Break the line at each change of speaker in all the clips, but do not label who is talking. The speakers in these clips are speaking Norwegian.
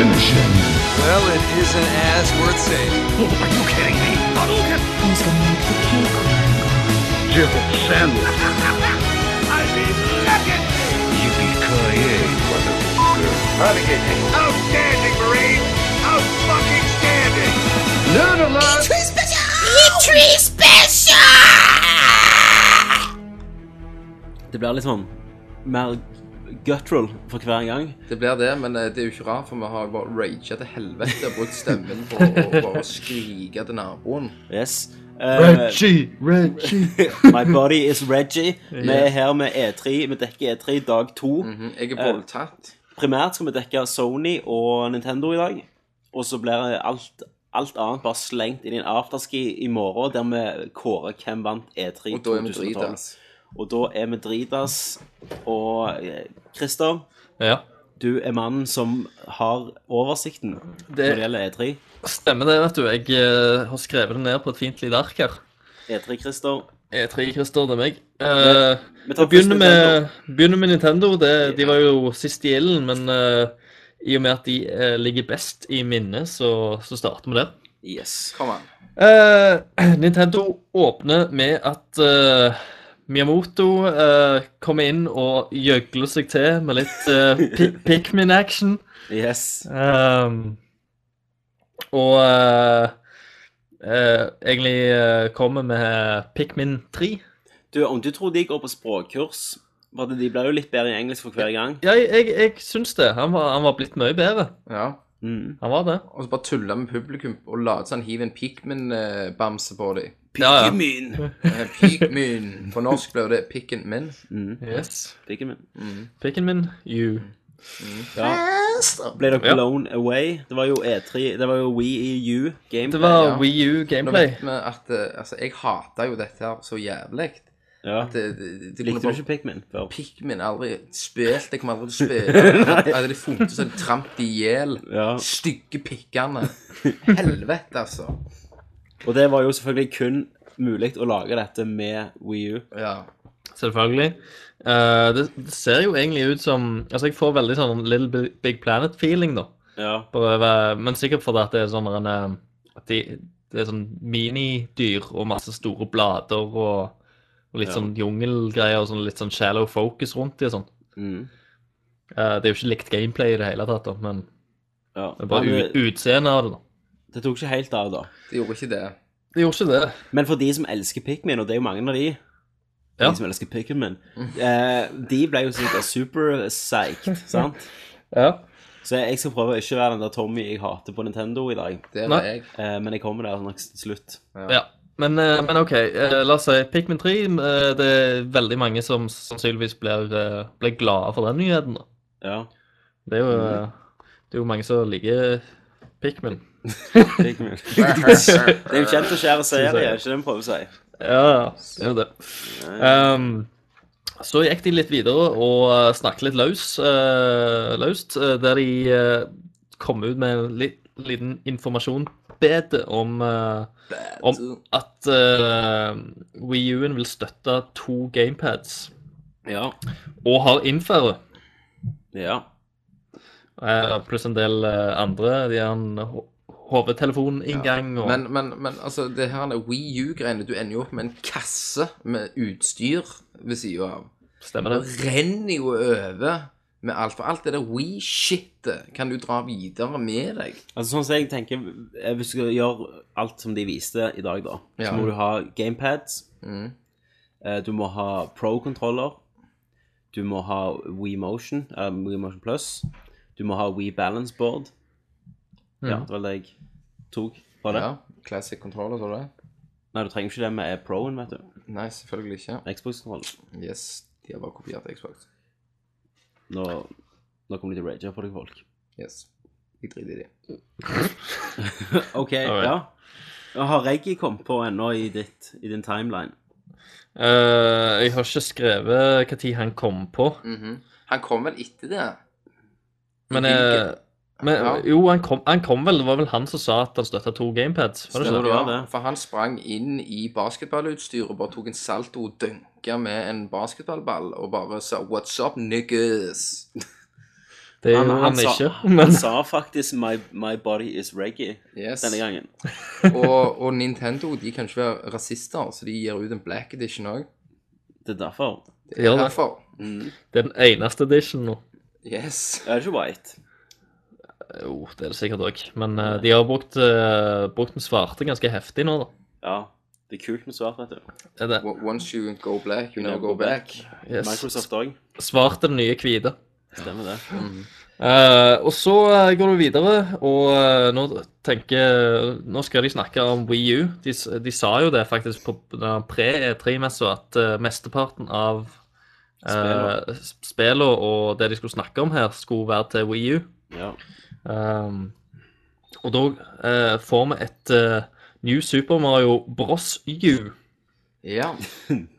Nation.
Well, it isn't as worth saving.
Oh, Are you kidding me?
Who's gonna make the cake?
Jibble sandwich. I mean, look at me! Yippee-ki-yay, motherfucker. Outstanding, Marine! Out-fucking-standing! Nerd alert!
Det blir litt sånn mer guttural for hver gang.
Det blir det, men eh, det er jo ikke rart, for vi har jo bare raga til helvete og brukt stemmen på å bare skrike til naboen.
Yes. Eh,
Reggie, Reggie.
my body is Reggie. Vi er her med E3. Vi dekker E3 dag to.
Mhm, Jeg
Eh,
er voldtatt.
Primært skal vi dekke Sony og Nintendo i dag. Og så blir alt, alt annet bare slengt inn i en afterski i morgen, der vi kårer hvem vant E3
Og da er vi drita.
2012. Og da er vi dritas. Og eh, Christer,
Ja,
du er mannen som har oversikten når det gjelder E3.
stemmer det, vet du. Jeg eh, har skrevet det ned på et fint lite ark her.
E3, Christer.
E3, Christer, det er meg. Eh,
Vi tar
og begynner
først Nintendo.
med, begynner med Nintendo. Det, de var jo sist i ilden, men eh, i og med at de eh, ligger best i minnet, så, så starter vi der.
Yes.
Kom an.
Eh, Nintendo åpner med at eh, Miyamoto eh, kommer inn og gjøgler seg til med litt eh, Pi- Pikmin-action.
Yes.
Ehm, og eh, eh, egentlig eh, kommer med Pikmin 3.
Du, om du tror de går på språkkurs for at De blir jo litt bedre i engelsk for hver gang.
Ja, jeg, jeg, jeg syns det. Han var, han var blitt mye bedre.
Ja.
Mm.
Han var det.
Og så bare tulla med publikum og late som han hiver en Pikmin-bamse på dem.
Ja, ja.
Min.
Eh, Pikmin. På norsk ble det Pikken min.
Mm.
Yes.
Pikken min.
Mhm.
Pikken min, you.
Ble dere
Ja.
blown away? Det var jo E3 Det var jo WeEU Game.
Det var
Ja.
Wii U
Nå
gameplay.
vet vi at eh, Altså, jeg hata jo dette her så jævlig.
ja.
At det, det, det kunne
Likte du
bare
ikke Pikmin før?
Pikmin aldri spilt. Jeg kommer aldri til å spille. Hadde de funnet så hadde de trampt i hjel.
Ja.
Stygge pikkene. Helvete, altså.
Og det var jo selvfølgelig kun mulig å lage dette med WeU.
Ja.
Selvfølgelig. Eh, det, det ser jo egentlig ut som Altså, jeg får veldig sånn Little Big- Big Planet-feeling, da.
Ja.
Bare- Men sikkert fordi at det er sånn der en, eh, at de, det er sånn minidyr og masse store blader og, og litt
Ja.
sånn jungelgreier og sånn, litt sånn shallow focus rundt de og sånn.
Mm.
Eh, det er jo ikke likt gameplay i det hele tatt, da, men
ja.
det er bare
Men, eh,
u- utseendet av det. da.
det tok ikke helt av, da.
De gjorde ikke det.
Det gjorde ikke det.
Men for de som elsker Pikmin, og det er jo mange av de
Ja.
De som elsker Pikmin, eh, de ble jo sikkert super-psyched, sant?
Ja.
Så jeg skal prøve å ikke være den der Tommy jeg hater på Nintendo i dag.
Det
Nei.
var jeg.
Eh, men jeg kommer der nok til slutt.
Ja. Men, eh, men OK, eh, la oss si Pikmin 3. eh, Det er veldig mange som sannsynligvis blir, eh, blir glade for den nyheten. da.
Ja.
Det er jo, eh, det er jo mange som liker Pikmin.
Pikmin. det er jo kjent og kjære serie, er ikke det vi prøver å si?
Ja, det er jo det. Ehm, så gikk de litt videre og eh, snakket litt løs, eh, løst, eh, der de eh, kom ut med en li- liten informasjonsbed om, eh, om at uh, WiiU-en vil støtte to gamepads
Ja.
og har innføre,
ja.
eh, pluss en del eh, andre. De har en ho- hovedtelefoninngang og
Men, men, men altså, det her Wii U-greiene Du ender jo opp med en kasse med utstyr ved sida av.
stemmer
Det
det.
renner jo over med alt. For alt det der Wii-shitet kan du dra videre med deg.
Altså sånn som jeg tenker, eh, hvis du skal gjøre alt som de viste i dag, da,
Ja. Mm.
så må du ha gamepads, eh, du må ha pro-kontroller, du må ha WeMotion, eller WeMotion Plus, du må ha WeBalanceboard. Ja, det var det jeg tok fra det.
Mm. Ja. Classic controller, så det?
Nei, du trenger ikke det med proen, vet du.
Nei, selvfølgelig ikke.
Xbox-kontrollen.
Yes, de har bare kopiert Xbox.
Nå, nå kommer de til å rage på deg, folk.
Yes. Jeg driter i det.
OK,
Alright.
ja. Og Har Reggie kommet på ennå i, ditt, i din timeline?
Eh, jeg har ikke skrevet når han kom på.
Mhm. Han kom vel etter det?
Men,
Hvilke-
eh, men
Ja.
jo, han kom, han kom vel. Det var vel han som sa at han støtta to gamepads? Var
Stemmer
det ikke?
det
det?
var det.
For han sprang inn i basketballutstyr og bare tok en salto og dønka med en basketballball og bare sa 'What's up, niggas?'
Det
Han,
gjorde han,
han, sa,
ikke.
han
Men
sa faktisk my, 'My body is reggae'
Yes.
denne gangen.
og, og Nintendo de kan ikke være rasister, så de gir ut en black edition òg.
Det er derfor.
Det Mm.
Gjør
er
det.
derfor.
det er den eneste edition nå.
Yes.
Er det ikke white?
Jo, det er det sikkert òg. Men eh, de har brukt, eh, brukt den svarte ganske heftig nå, da.
Ja. Det er kult med svart, vet du.
Det er det.
O- Once you go black, you never go back.
Yes.
Microsoft òg.
Svart er den nye hvite.
Stemmer det.
Eh, og så eh, går du videre, og eh, nå tenker Nå skal de snakke om Wii U. De, s- de sa jo det faktisk på den pre-E3-messa at eh, mesteparten av
Spela.
uh, spillene og det de skulle snakke om her, skulle være til Wii U.
Ja.
Um, og da eh, får vi et eh, New Super Mario Bros. U.
Ja.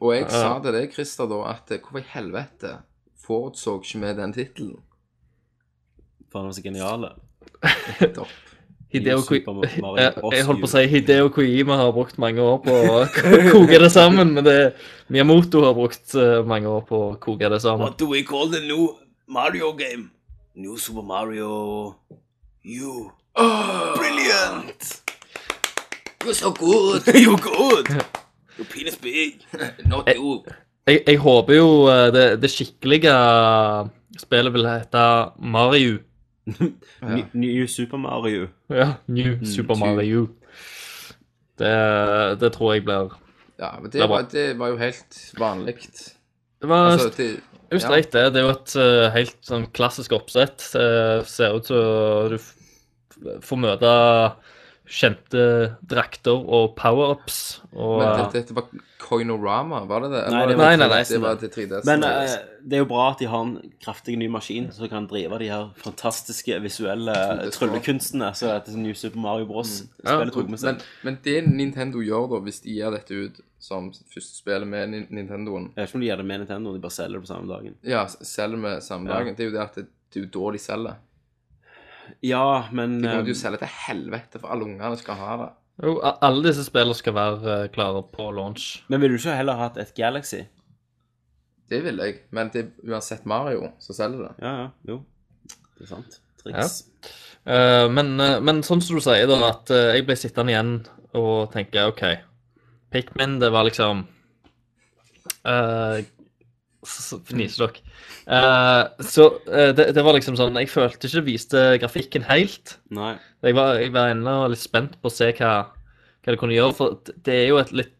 Og jeg sa til deg, Christer, da, at eh, hvorfor i helvete forutså ikke vi den tittelen?
Faen, de er så geniale.
Topp.
Hideo
New
Ko-
Super Mario
Eh,
Bros.
Jeg holdt på å si
U.
Hideo Koima har brukt mange år på å ko- koke det sammen, men det Miyamoto har brukt eh, mange år på å koke det sammen.
What do we call the new Mario game? New Super Mario You. Brilliant!
You're so good!
You're good! Your penis big.
Not you!
Jeg, jeg håper jo eh, det, det skikkelige eh, spillet vil hete Mario.
Ny- New Super Mario.
Ja, Mm, New Super Mario. Det, det tror jeg blir
Ja, men
Det er
det
bra.
var, det var jo helt vanlig.
Det var
Altså, det-
Det er jo streit, det. Det er jo et eh, helt sånn klassisk oppsett. Det ser ut som du f- får møte kjente drakter og power-ups. Og
Men dette, dette var Coinorama, var det det?
Nei, det
var Nei, nei, nei.
Det var til 3DS.
Men eh, det er jo bra at de har en kraftig ny maskin som kan drive de her fantastiske visuelle eh, tryllekunstene som dette New Super Mario Bros. spillet tok med
Mm. men,
seg.
men det Nintendo gjør, da, hvis de gir dette ut som første spill med Nin- Nintendoen
Jeg vet ikke om de gjør det med Nintendo, de bare selger det på samme dagen.
Ja, s- selger med samme
Ja.
dagen. Det er jo det at det, det er jo da de selger.
Ja, men
De kommer
eh,
til å selge til helvete, for alle ungene skal ha det.
eh, jo, a- alle disse spillene skal være eh, klare på launch.
Men ville du ikke heller hatt et Galaxy?
Det vil jeg. Men det er uansett Mario som selger det.
Ja, ja, jo. Det er sant. Triks.
Eh, men, eh, men sånn som du sier, da, at eh, jeg ble sittende igjen og tenke OK, Pikmin, det var liksom eh, s- s- Fniser dere. Eh, så eh, det, det var liksom sånn Jeg følte ikke det viste grafikken helt.
Nei.
Jeg var, jeg var ennå litt spent på å se hva, hva det kunne gjøre, for det- det er jo et litt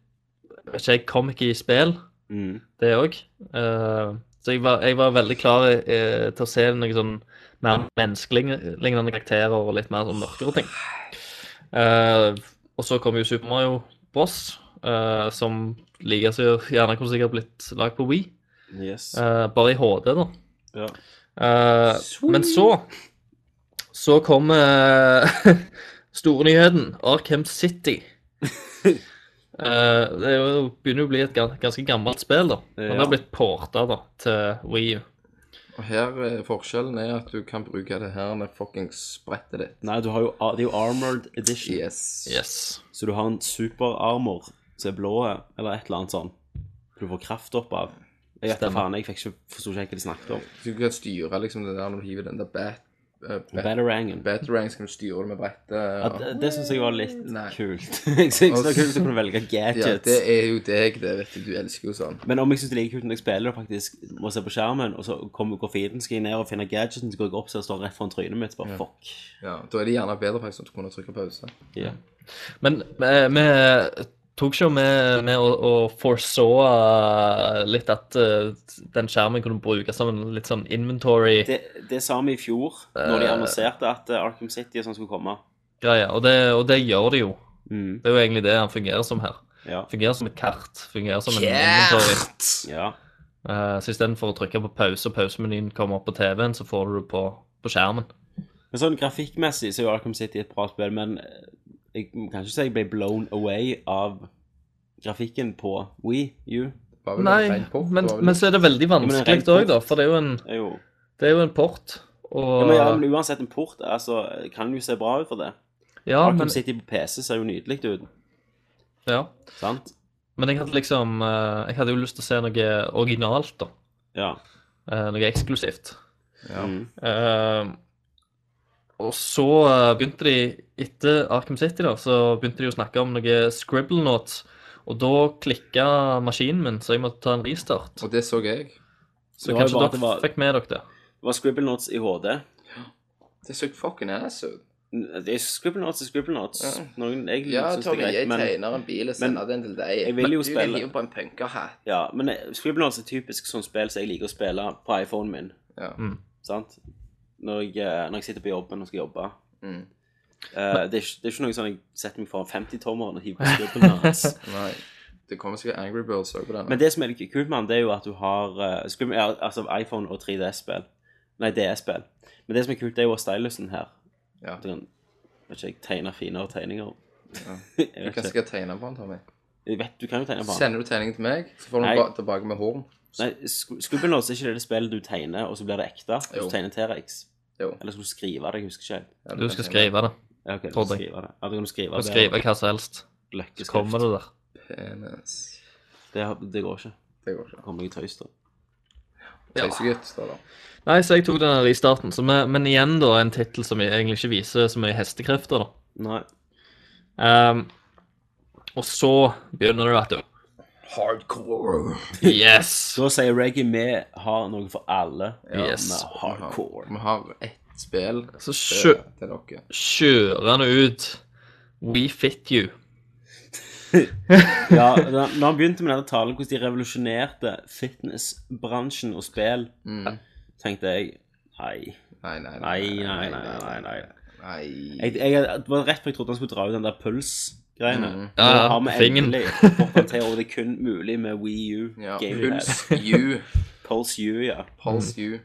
jeg vet ikke jeg, comic i spill,
Mm.
det òg. så jeg var, jeg var veldig klar eh, til å se noen sånn mer menneskelignende karakterer og litt mer sånn mørkere ting. Eh, og så kom jo Super Mario Bros, eh, som like så gjerne kunne sikkert blitt lagd på Wii,
Yes.
eh, bare i HD, da.
Ja.
Eh, men så Så kom eh, stornyheten. Arkham City. Eh, det er jo, begynner jo å bli et gan- ganske gammelt spill, da. Men det
Ja.
har blitt porta da, til Wii U.
Og her eh, forskjellen er at du kan bruke det her når fuckings sprettet ditt.
Nei, du har jo, det er jo Armored Edition.
Yes.
Yes.
Så du har en superarmor som er blå, eller et eller annet sånn. Du får kraft opp av. Jeg vet da faen, jeg fikk ikke, forstod ikke helt hva de snakket om.
Så du kan styre liksom det der når du hiver den der bat... eh, bat
Batterangen.
Batarang skal du styre det med brettet.
At,
og-
eh, det synes jeg var litt
Nei.
kult. jeg synes det var kult å kunne velge
Ja,
gadgets.
det er jo deg, det. vet Du du elsker jo sånn.
Men om jeg synes det er like kult når jeg spiller og faktisk må se på skjermen, og så kommer går feeden, skal jeg ned og finne gadgeten, så går jeg opp, så det står rett foran trynet mitt, så bare fuck.
Ja, Da er det gjerne bedre faktisk at du kunne trykke pause.
Ja.
Men eh, vi tok ikke med, med å, å foreså eh, litt at eh, den skjermen kunne brukes som en litt sånn inventory-greie.
Det, det sa vi i fjor, når de annonserte at eh, Arkham City og sånn skulle komme.
Og, det- og det gjør det jo.
Mm.
Det er jo egentlig det han fungerer som her.
Ja.
Fungerer som et kart. Fungerer som en inventory.
ja.
Eh, Så istedenfor å trykke på pause, og pausemenyen kommer opp på TV-en, så får du det på, på skjermen.
Men sånn grafikkmessig så er jo Arkham City et bra spill, men eh, jeg kan ikke si jeg ble blown away av grafikken på Wii U.
Var vel en
Nei,
ren port,
men,
var vel-
men så er det veldig
men en
vanskelig
ren
òg, da. For det er jo en,
Det er jo
det er jo en port. Og
ja, men, ja, men uansett en port altså, kan jo se bra ut for det.
ja,
Arkham
men,
City på PC ser jo nydelig ut,
ja.
sant?
men jeg hadde liksom eh, Jeg hadde jo lyst til å se noe originalt, da.
Ja.
Eh, Noe eksklusivt.
Ja.
Mm.
Eh, og så eh, begynte de, etter Arkham City, da, så begynte de å snakke om noe Scribblenauts. Og da klikka maskinen min, så jeg måtte ta en restart.
Og det så jeg.
Så
Det var jo
kanskje
bare
dere
at det var-
fikk med dere det.
Det var Scribblenauts i HD.
Det så fucking ass ut.
N- Det er Scribblenauts er Scribblenauts.
Ja.
Noen, jeg
Ja,
synes det er
Tommy, jeg
greit, men,
tegner en bil og sender den til deg.
jeg vil jo
Men
spille.
Du hiver på en punkerhatt.
ja, men eh, Scribblenauts er typisk sånn spill som jeg liker å spille på iPhonen min.
Ja.
Mm.
Sant? Når jeg, eh, når jeg sitter på jobben og skal jobbe.
Mm.
Eh, det, er, ikke- det er ikke noe sånn jeg setter meg foran 50-tommeren og hiver på Scribblenauts.
Nei. Det kommer sikkert Angry Birds også på denne.
Men det som er litt kult med den, det er jo at du har eh, skulle- ja, altså iPhone og 3DS-spill. Nei, DS-spill. Men det som er kult, det er jo stylusen her.
Ja.
Du kan vet ikke, jeg tegne finere tegninger.
Ja.
Jeg
du
vet ikke.
kan sikkert tegne på den, Tommy.
Jeg vet, du kan jo tegne på den.
Sender du tegningen til meg, så får du
Nei.
den ba- tilbake med horn.
Nei, Sc- Scribblenauts er ikke det spillet du tegner, og så blir det ekte. og
Jo.
Så tegner T-rex.
Jo.
Eller skal du skrive det? Jeg husker ikke helt.
Ja,
Du
kan
skal
tegne.
skrive det.
Ja, ok, du
Tror
skal
jeg.
skrive det. Ja, du kan skrive
Du kan
det.
skrive hva som helst. Så
Løkkeskrift.
kommer det der.
Penis.
Det, har- det går ikke.
Det går ikke.
Da kommer jeg i tøys, da.
Tøysegutt, står det.
Nei, så jeg tok den i starten. Så men, men igjen, da, en tittel som egentlig ikke viser så mye hestekrefter, da.
Nei.
Ehm, og så begynner det, vet du.
Hardcore.
Yes!
Da sier Reggie vi har noe for alle.
Yes.
Vi har hardcore.
Vi har ett spill
Så
til,
kjø
til dere.
kjører han ut We fit you.
Ja, da, når han begynte med denne talen, hvordan de revolusjonerte fitnessbransjen og spill,
Mm.
tenkte jeg Nei.
Nei, nei,
Nei, nei, nei. nei, nei.
Nei.
Jeg, jeg, det var rett før jeg trodde han skulle dra ut den der puls-greiene.
Mm.
Nå
Ja,
har vi
fingen.
endelig fått han til, og det er kun mulig med Wii U.
Ja,
gamepad.
Puls U.
Pulse U, ja.
Puls U.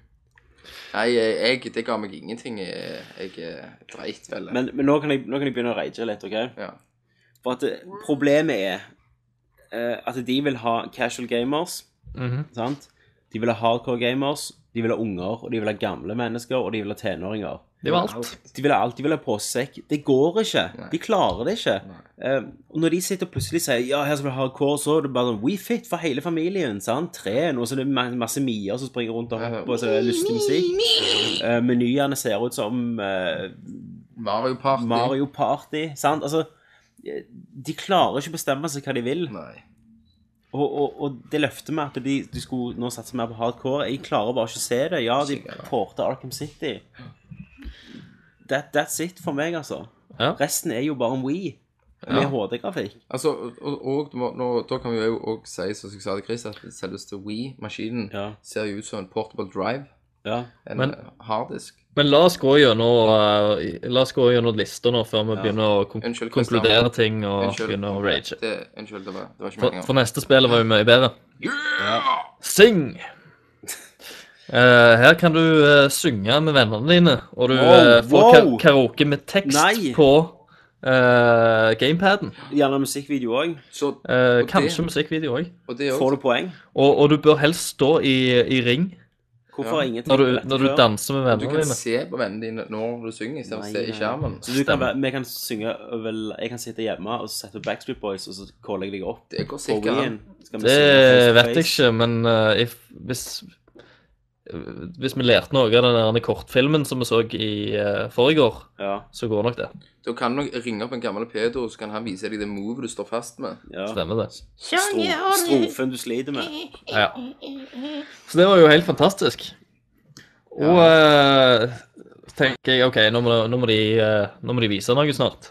Nei, jeg, jeg- det ga meg ingenting. Jeg, jeg eh, dreit vel.
Men, men nå, kan jeg, nå kan jeg begynne å rage litt, OK?
ja.
For at det, problemet er eh, at de vil ha casual gamers,
Mhm.
sant? De vil ha hardcore gamers, de vil ha unger, og de vil ha gamle mennesker, og de vil ha tenåringer.
Det var alt.
De vil ha alt, de vil ha påsesekk. Det går ikke.
Nei.
De klarer det ikke. Eh, og når de sitter og plutselig sier ja, her skal vi ha hardcore, så er det bare sånn We fit for hele familien. sant? Tren, og så er det ma- masse mier som springer rundt og hopper, og så er det lystig musikk. Eh, menyene ser ut som eh,
Mario Party.
Mario Party. sant? Altså, eh, de klarer ikke å bestemme seg hva de vil.
Nei.
Og, og, og det løftet med at de, de skulle nå satse mer på hardcore Jeg klarer bare ikke å se det. Ja, de
Sikkert.
porter Arkham City. That, that's it for meg, altså.
Ja.
Resten er jo bare en Wii med HD-grafikk.
Altså, og, og du må, nå, da kan vi jo også si, som jeg sa til Chris, at selveste Wii-maskinen
Ja.
ser jo ut som en portable drive.
Ja.
En
Men-
eh, harddisk.
Men la oss gå gjennom, eh, la oss gå gjennom lista nå, før vi
Ja.
begynner å kon
Unnskyld, Christian.
konkludere ting og
Unnskyld.
begynner å rage.
Det, unnskyld, eh, det var, det var ikke
For, for
meningen.
neste spillet var jo mye bedre.
Yeah!
Sing! Eh, her kan du eh, synge med vennene dine, og du
Wow,
eh, får ka
wow!
karaoke med tekst
Nei!
på eh, gamepaden.
Gjerne musikkvideo òg.
Så,
Eh,
Og det-
kanskje musikkvideo òg.
og det er
Får
også
du poeng?
Og, og du bør helst stå i, i ring
Hvorfor
Ja.
er ingenting
når du,
dette
når du
før?
danser med
Du
vennene
kan
dine.
se på vennene dine når du synger, istedenfor å
Nei,
se i
nei.
skjermen.
Så du kan,
Stemmer.
være- vi kan synge over Jeg kan sitte hjemme og så sette på Backstreet Boys, og så caller jeg deg opp.
Det går
På
sikkert an.
Wii-en skal vi
Det
synge face to
vet jeg
face.
ikke, men eh, if, hvis eh, Hvis vi lærte noe av den der kortfilmen som vi så i uh, forrige år,
Ja,
så går nok det.
Da kan du nok ringe opp en gammel Pedro, så kan han vise deg det movet du står fast med.
ja.
Stemmer det.
Stro, strofen du sliter med.
Ja. Så det var jo helt fantastisk. Og eh, tenker jeg OK, nå må, nå, må de, eh, nå må de vise noe snart.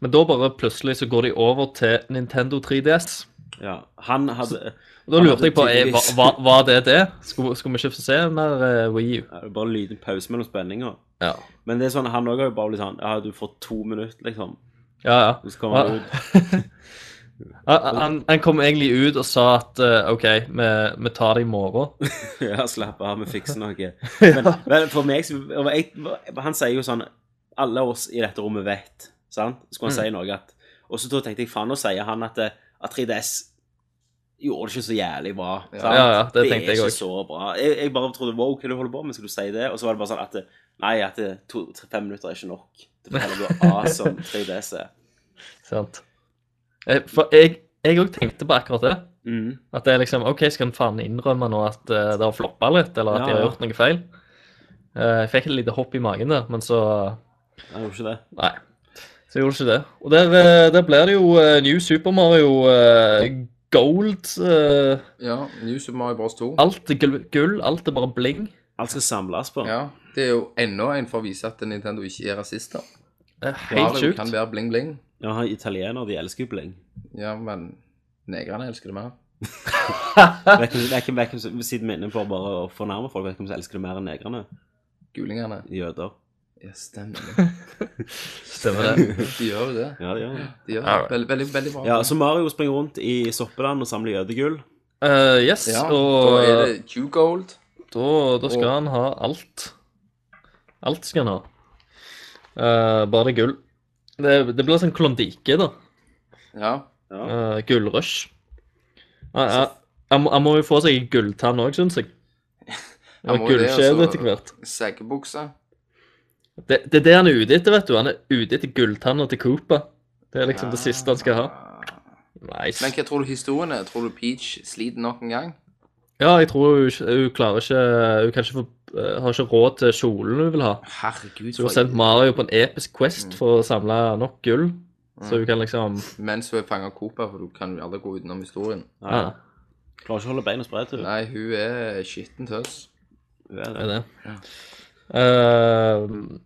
Men da bare plutselig så går de over til Nintendo 3DS.
Ja. Han hadde
Og da
Ja,
lurte jeg på eh, hva,
tydeligvis.
hva, hva det er det? Skulle, skulle vi ikke få se mer eh, Wii U?
ja, det var Bare en liten pause mellom spenninga.
Ja,
Men det er sånn, han òg har jo bare blitt sånn Ja, du får to minutter, liksom.
ja. ja.
Og Så kommer
Ja.
han ut.
Han, han, han kom egentlig ut og sa at eh, OK, vi, vi tar det i morgen.
Ja, slapp av, vi fikser noe. Men, men for meg så- og jeg, Han sier jo sånn Alle oss i dette rommet vet, sant? Skulle
Mm.
han si noe at Og så da tenkte jeg faen, nå sier han at, eh, at 3DS gjorde det ikke så jævlig bra. sant?
Ja, ja, det tenkte
er
jeg
ikke
også.
så bra. Jeg, jeg bare trodde wow, hva er det du holder på med, skal du si det? Og så var det bare sånn at eh, Nei, at eh, to, tre, fem minutter er ikke nok. Det forteller hvor awesome 3DS er.
Sant. Eh, For jeg òg tenkte på akkurat det.
Mm.
At det er liksom OK, skal en faen innrømme nå at eh, det har floppa litt, eller at
Ja,
de har
ja.
gjort noe feil? Eh, Jeg fikk et lite hopp i magen der, men så
Jeg gjorde ikke det.
Nei. Så jeg gjorde ikke det. Og der, eh, der blir det jo eh, New Super Mario eh, Gold. eh,
Ja, New Super Mario Bros. 2.
Alt er gull, gull, alt er bare bling.
Alt skal samles på.
Ja, det er jo enda en for å vise at Nintendo ikke er rasister.
Det er
Mario
helt sjukt.
kan være bling-bling.
Ja, han er italiener, de elsker jo bling.
Ja, men negrene elsker det mer.
Vet ikke- vet ikke- vet ikke- Vi sitter vi inne for bare å fornærme folk. Vet ikke om som elsker det mer enn negrene.
Gulingene.
Jøder.
Ja, stemmer det.
Stemmer det.
De gjør jo det.
Ja, det gjør det.
De gjør det.
Alright.
Veldig, veldig, veldig bra.
Ja, så Mario springer rundt i Soppeland og samler jødegull.
Eh, yes,
Ja, da
og
er det Q-Gold.
da, da skal
og-
han ha alt. Alt skal han ha. Eh, bare det er gull. Det, det blir sånn klondike, da.
Ja.
Eh, gullrush. Han- han- Han må- han må jo få seg en gulltann òg, syns jeg.
Han
Og
må jo det,
gullkjede
altså.
etter hvert.
Seggebukse.
Det, det er det han er ute etter, vet du. Han er ute etter gulltanna til Cooper. Det er liksom det siste han skal ha.
Ah.
Nice.
Men hva tror du historien er? Tror du Peach sliter nok en gang?
Ja, jeg tror hun, ikke- hun klarer ikke Hun kan ikke få, eh, har ikke råd til kjolen hun vil ha.
Herregud,
Så hun har
for-
sendt Mario på en episk
Mm.
quest for å samle nok gull. Så hun kan liksom
mens hun er fanga av Cooper, for du kan jo aldri gå utenom historien.
Ja,
Klarer ikke å holde beina spredt. du.
Nei, hun er skitten tøs.
Hun er
det er
det.
det. Ehm,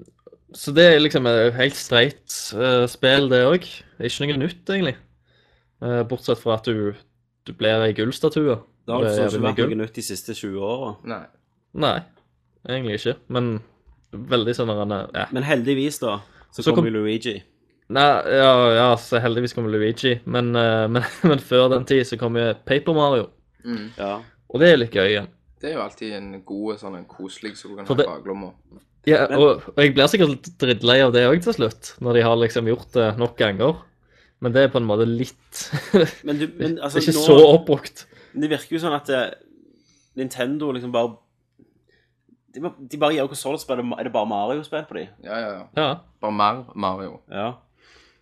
så det er liksom et helt streit eh, spill, det òg. Det er ikke noe nytt, egentlig. Eh, bortsett fra at du, du blir ei gullstatue.
Det har altså
Det er
ikke
jævlig
vært
gull.
noe nytt de siste 20 åra.
Nei.
Nei, egentlig ikke. Men veldig sånn der, ja.
Men heldigvis, da, så,
Så
kommer
kom-
jo Luigi.
Nei, ja, ja, så heldigvis kommer Luigi, men, eh, men, men før den tid så kommer Paper Mario.
Mm.
Ja.
Og det er litt gøy igjen.
Det er jo alltid en god sånn en koselig som du kan
For
ha i
det-
baklomma.
Ja,
Men-
og, og jeg blir sikkert drittlei av det òg til slutt, når de har liksom gjort det nok ganger. Men det er på en måte litt
Men, du, men altså,
Det er
nå,
ikke så oppbrukt.
det virker jo sånn at eh, Nintendo liksom bare De, bare- de bare gjør konsollspill. Er det bare Mario-spill på de?
Ja, ja, ja.
Ja.
Bare mer Mario.
Ja.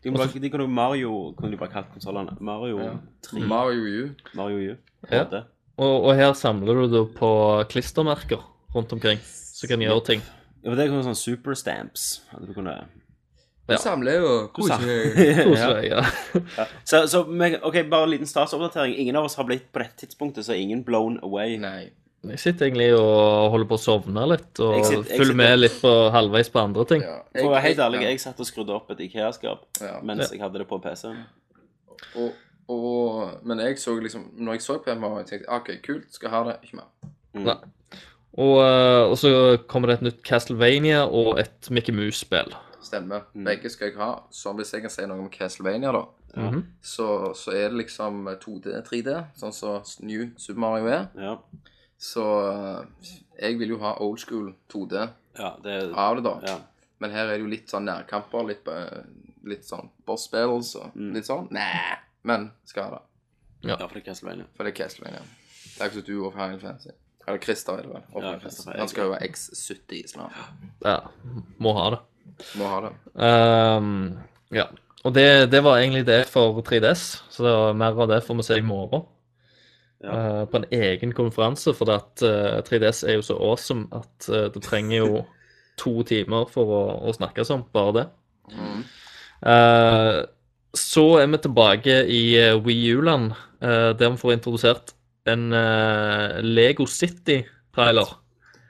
De, kan bare, de kan jo Mario kunne de bare kalt konsollene. Mario
Ja.
3,
Mario U.
Mario U.
Ja.
HD.
Og, og her samler du det på klistremerker rundt omkring, som kan gjøre ting.
Ja, for det kom sånn Super Stamps. At du kunne
Ja.
Du samler jo koselig.
ja.
Koselig. Ja.
Så, så men- OK, bare en liten statsoppdatering. Ingen av oss har blitt på dette tidspunktet, så ingen blown away.
Nei.
Jeg sitter egentlig og holder på å sovne litt, og
Jeg sitter- jeg
følger med
sitter-
litt på halvveis på andre ting.
Ja.
For å være helt ærlig, jeg satt og skrudde opp et Ikea-skap
Ja.
mens jeg hadde det på PC-en.
Og, og, men jeg så liksom Når jeg så på Mario, tenkte jeg OK, kult, skal ha det. Ikke mer.
Nei. Og, eh, og så kommer det et nytt Castlevania og et Mickey Mouse-spill.
Stemmer. Begge skal jeg ha. Så hvis jeg kan si noe om Castlevania, da,
Mhm.
så, så er det liksom 2D, 3D, sånn som New Super Mario er.
Ja.
Så eh, jeg vil jo ha old school 2D
ja, det
av det, da.
Ja.
Men her er det jo litt sånn nærkamper, litt, eh, litt sånn boss-spill og
Mm.
litt sånn. Nei, men skal ha det.
Ja, for det er Castlevania.
For det er Castlevania. Det er ikke så du og Final Fantasy. Eller Christer, er det vel. Og
Ja,
Final
Christer,
Fantasy. Han skal jo være X70 snart.
Ja, må ha det.
Må ha det.
Ehm, ja. Og det, det var egentlig det for 3DS, så mer av det får vi se i morgen.
Ja.
Eh, på en egen konferanse, for at eh, 3DS er jo så awesome at eh, det trenger jo to timer for å, å snakkes om bare det. Eh, så er vi tilbake i eh, Wii U-land, eh, der vi får introdusert en eh, Lego City-trailer.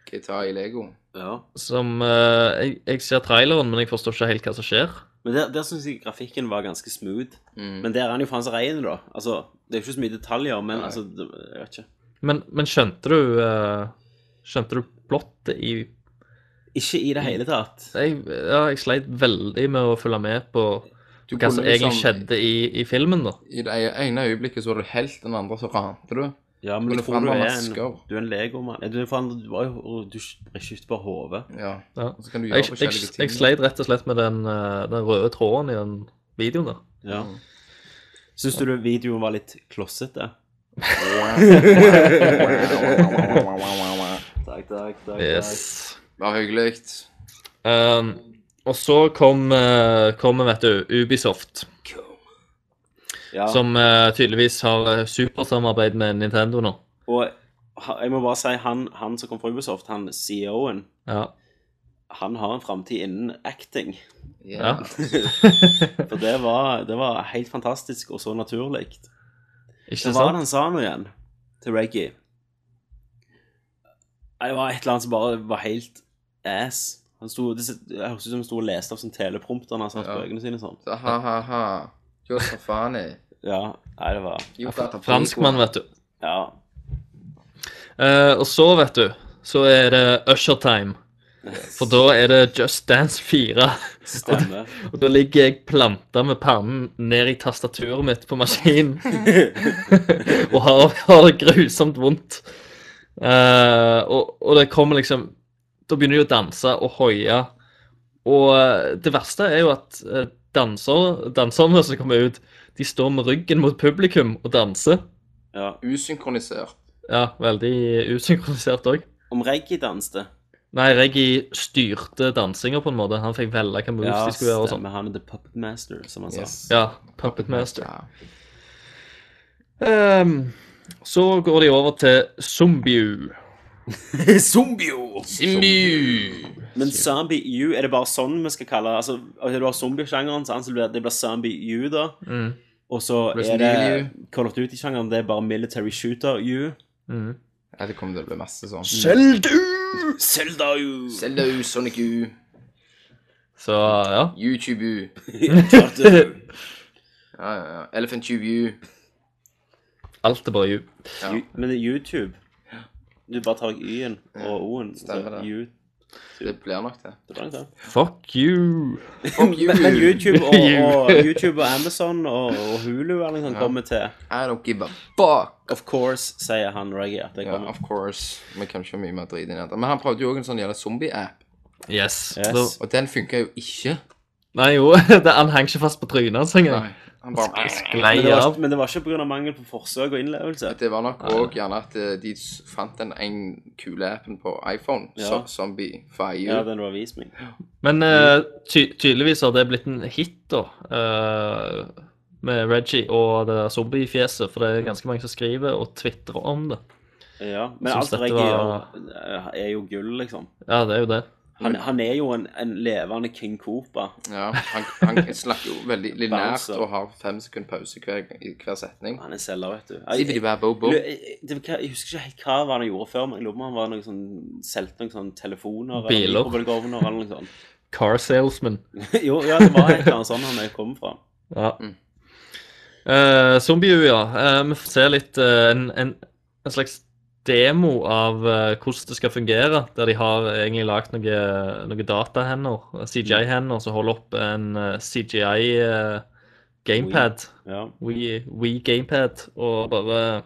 Kita i Lego.
Ja.
Som eh, jeg, jeg ser traileren, men jeg forstår ikke helt hva som skjer.
Men der, der syns jeg grafikken var ganske smooth.
Mm.
Men der er han jo faen så rein, da. Altså, det er jo ikke så mye detaljer, men
Nei.
altså det, Jeg vet ikke.
Men, men skjønte du eh, Skjønte du plottet i
Ikke i
Mm.
det hele tatt.
jeg, Ja, jeg sleit veldig med å følge med på
Du
hva
kunne
som egentlig
liksom-
skjedde i, i filmen, da.
I det ene øyeblikket så var du helt, den andre så rante du.
Ja, men
Kunne
du tror du
forandre
er en,
masker.
du er en legomann Nei, Du er faen, du var jo Du skifter bare hodet.
Ja.
Ja.
Og så kan du gjøre
Jeg, jeg,
forskjellige
jeg,
ting.
sleit rett og slett med den, eh, den røde tråden i den videoen der.
Ja. Syns du det- videoen var litt klossete? Takk, takk, takk.
Yes.
Var hyggelig.
Um, og så kom, eh, kom vet du, Ubisoft,
Ja.
som eh, tydeligvis har eh, supersamarbeid med Nintendo nå.
Og ha- jeg må bare si, han, han som kom fra Ubisoft, han CEO-en
Ja.
E han har en framtid innen acting.
Ja.
For det var, det var helt fantastisk og så naturlig.
Ikke
Så var det
sant?
han sa nå igjen til Reggie. Nei, Det var et eller annet som bare var helt ass. Han sto, det s- jeg husker som han sto og leste av sånn teleprompter når han satt
Ja.
på øynene sine sånn.
Så ha, ha, ha. Josefani.
Ja, nei, det var
Jo, da.
Franskmann, vet du.
Ja.
Eh, og så, vet du, så er det Usher-time. For da er det Just Dance 4.
Stemmer.
Og da ligger jeg planta med pannen ned i tastaturet mitt på maskinen. og har, har det grusomt vondt. Eh, og, og det kommer liksom Da begynner de å danse og hoie. Og eh, det verste er jo at eh, danser, danserne som kommer ut, de står med ryggen mot publikum og danser.
Ja.
Usynkronisert.
Ja, veldig usynkronisert òg.
Om Reggie danste.
Nei, Reggie styrte dansinga på en måte. Han fikk velge hvilke moves
Ja,
de skulle gjøre. og sånn.
stemmer. Han er the puppet master, som han sa.
Yes.
Altså. Ja, Puppet Master.
Ja.
Ehm, så går de over til Zombieu.
Zombio! Men Zombie U, er det bare sånn vi skal kalle altså, altså, Du har zombiesjangeren, sant, så det blir- det blir Zombie U, da.
Mm.
Og så er
Resident
det Call of Duty-sjangeren, det er bare Military Shooter U.
Mm.
Ja, det kommer til å bli masse sånn.
Zeldu!
Zelda U!
Zelda U, Sonic U,
Så ja.
YouTube U. Ja, ja, ja. Elephant Tube U.
Alt er bare ju.
Ja.
U- Men det er YouTube. Du bare tar Y-en og O-en. så
stemmer det.
U-
Det blir nok det.
det er bra, det.
Fuck you.
Fuck you.
Men, men YouTube, og, og,
U.
YouTube og Amazon og, og Hulu eller noe sånt kommer til
I don't give a fuck.
Of course, sier han Reggie at det
Ja,
kommer.
of course. Vi kan ikke ha mye mer drit inn i dette. Men han prøvde jo også en sånn jævla zombie-app,
Yes.
Yes.
Da-
og den funka jo ikke.
Nei, jo. det, han henger ikke fast på trynet hans engang.
Han bare
Sklei
Men det, var,
av.
ikke- men det var ikke pga. mangel på forsøk og innlevelse.
Det var nok òg gjerne at eh, de s- fant den ene kule appen på iPhone,
Ja.
so Zombie Fire.
Ja, den var vist meg.
Men eh, ty tydeligvis har det blitt en hit, da. eh, med Reggie og det der zombiefjeset. For det er ganske mange som skriver og tvitrer om det.
Ja, men
Jeg
alt
synes dette
Reggie
var-
gjør, er jo gull, liksom.
Ja, det er jo det.
Han, han er jo en, en levende King Cooper.
Ja, han, han snakker jo veldig linært
Bouncer.
og har fem sekunder pause hver, i hver setning.
Han er selger, vet du. Jeg, jeg,
Zibbidi-bab-bo-bo.
jeg, det, var- jeg husker ikke helt hva var han gjorde før, men jeg lurer på om han var noen sånn, solgte noen sånne telefoner eller
Biler.
mikrobølgeovner eller noe sånt.
Car salesman.
Jo, ja, det var et eller annet sånn han jeg kom fra.
Ja.
Mm.
Eh, Zombie-U, ja. Eh, vi får se litt eh, en, en, en slags demo av eh, hvordan det skal fungere, der de har egentlig lagd noe, noe datahender, eh, CGI-hender, som holder opp en eh, CGI-gamepad.
Ja.
We-gamepad, og bare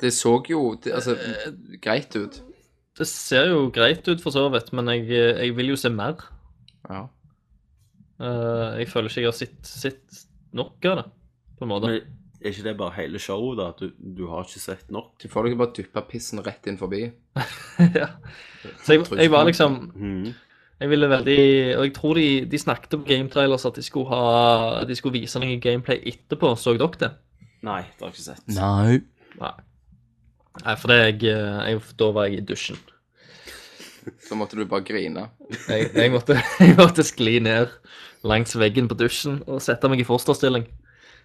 Det så jo det, altså,
Eh,
greit ut.
Det ser jo greit ut, for så vidt, men jeg, eh, jeg vil jo se mer.
Ja.
Eh, jeg føler ikke jeg har sett, sett nok av det, på en måte.
Men er ikke det bare hele showet, da? At du, du har ikke sett nok?
Du får dere bare dyppe pissen rett inn forbi.
ja. Så jeg, jeg var liksom
Mhm.
Jeg ville veldig Og jeg tror de, de snakket om gametrailers at de skulle ha De skulle vise noe gameplay etterpå. Så dere det?
Nei, det har jeg ikke sett.
Nei.
Nei, for det jeg, eh, jeg Da var jeg i dusjen.
Så måtte du bare grine.
Jeg, jeg, måtte, jeg måtte skli ned langs veggen på dusjen og sette meg i fosterstilling.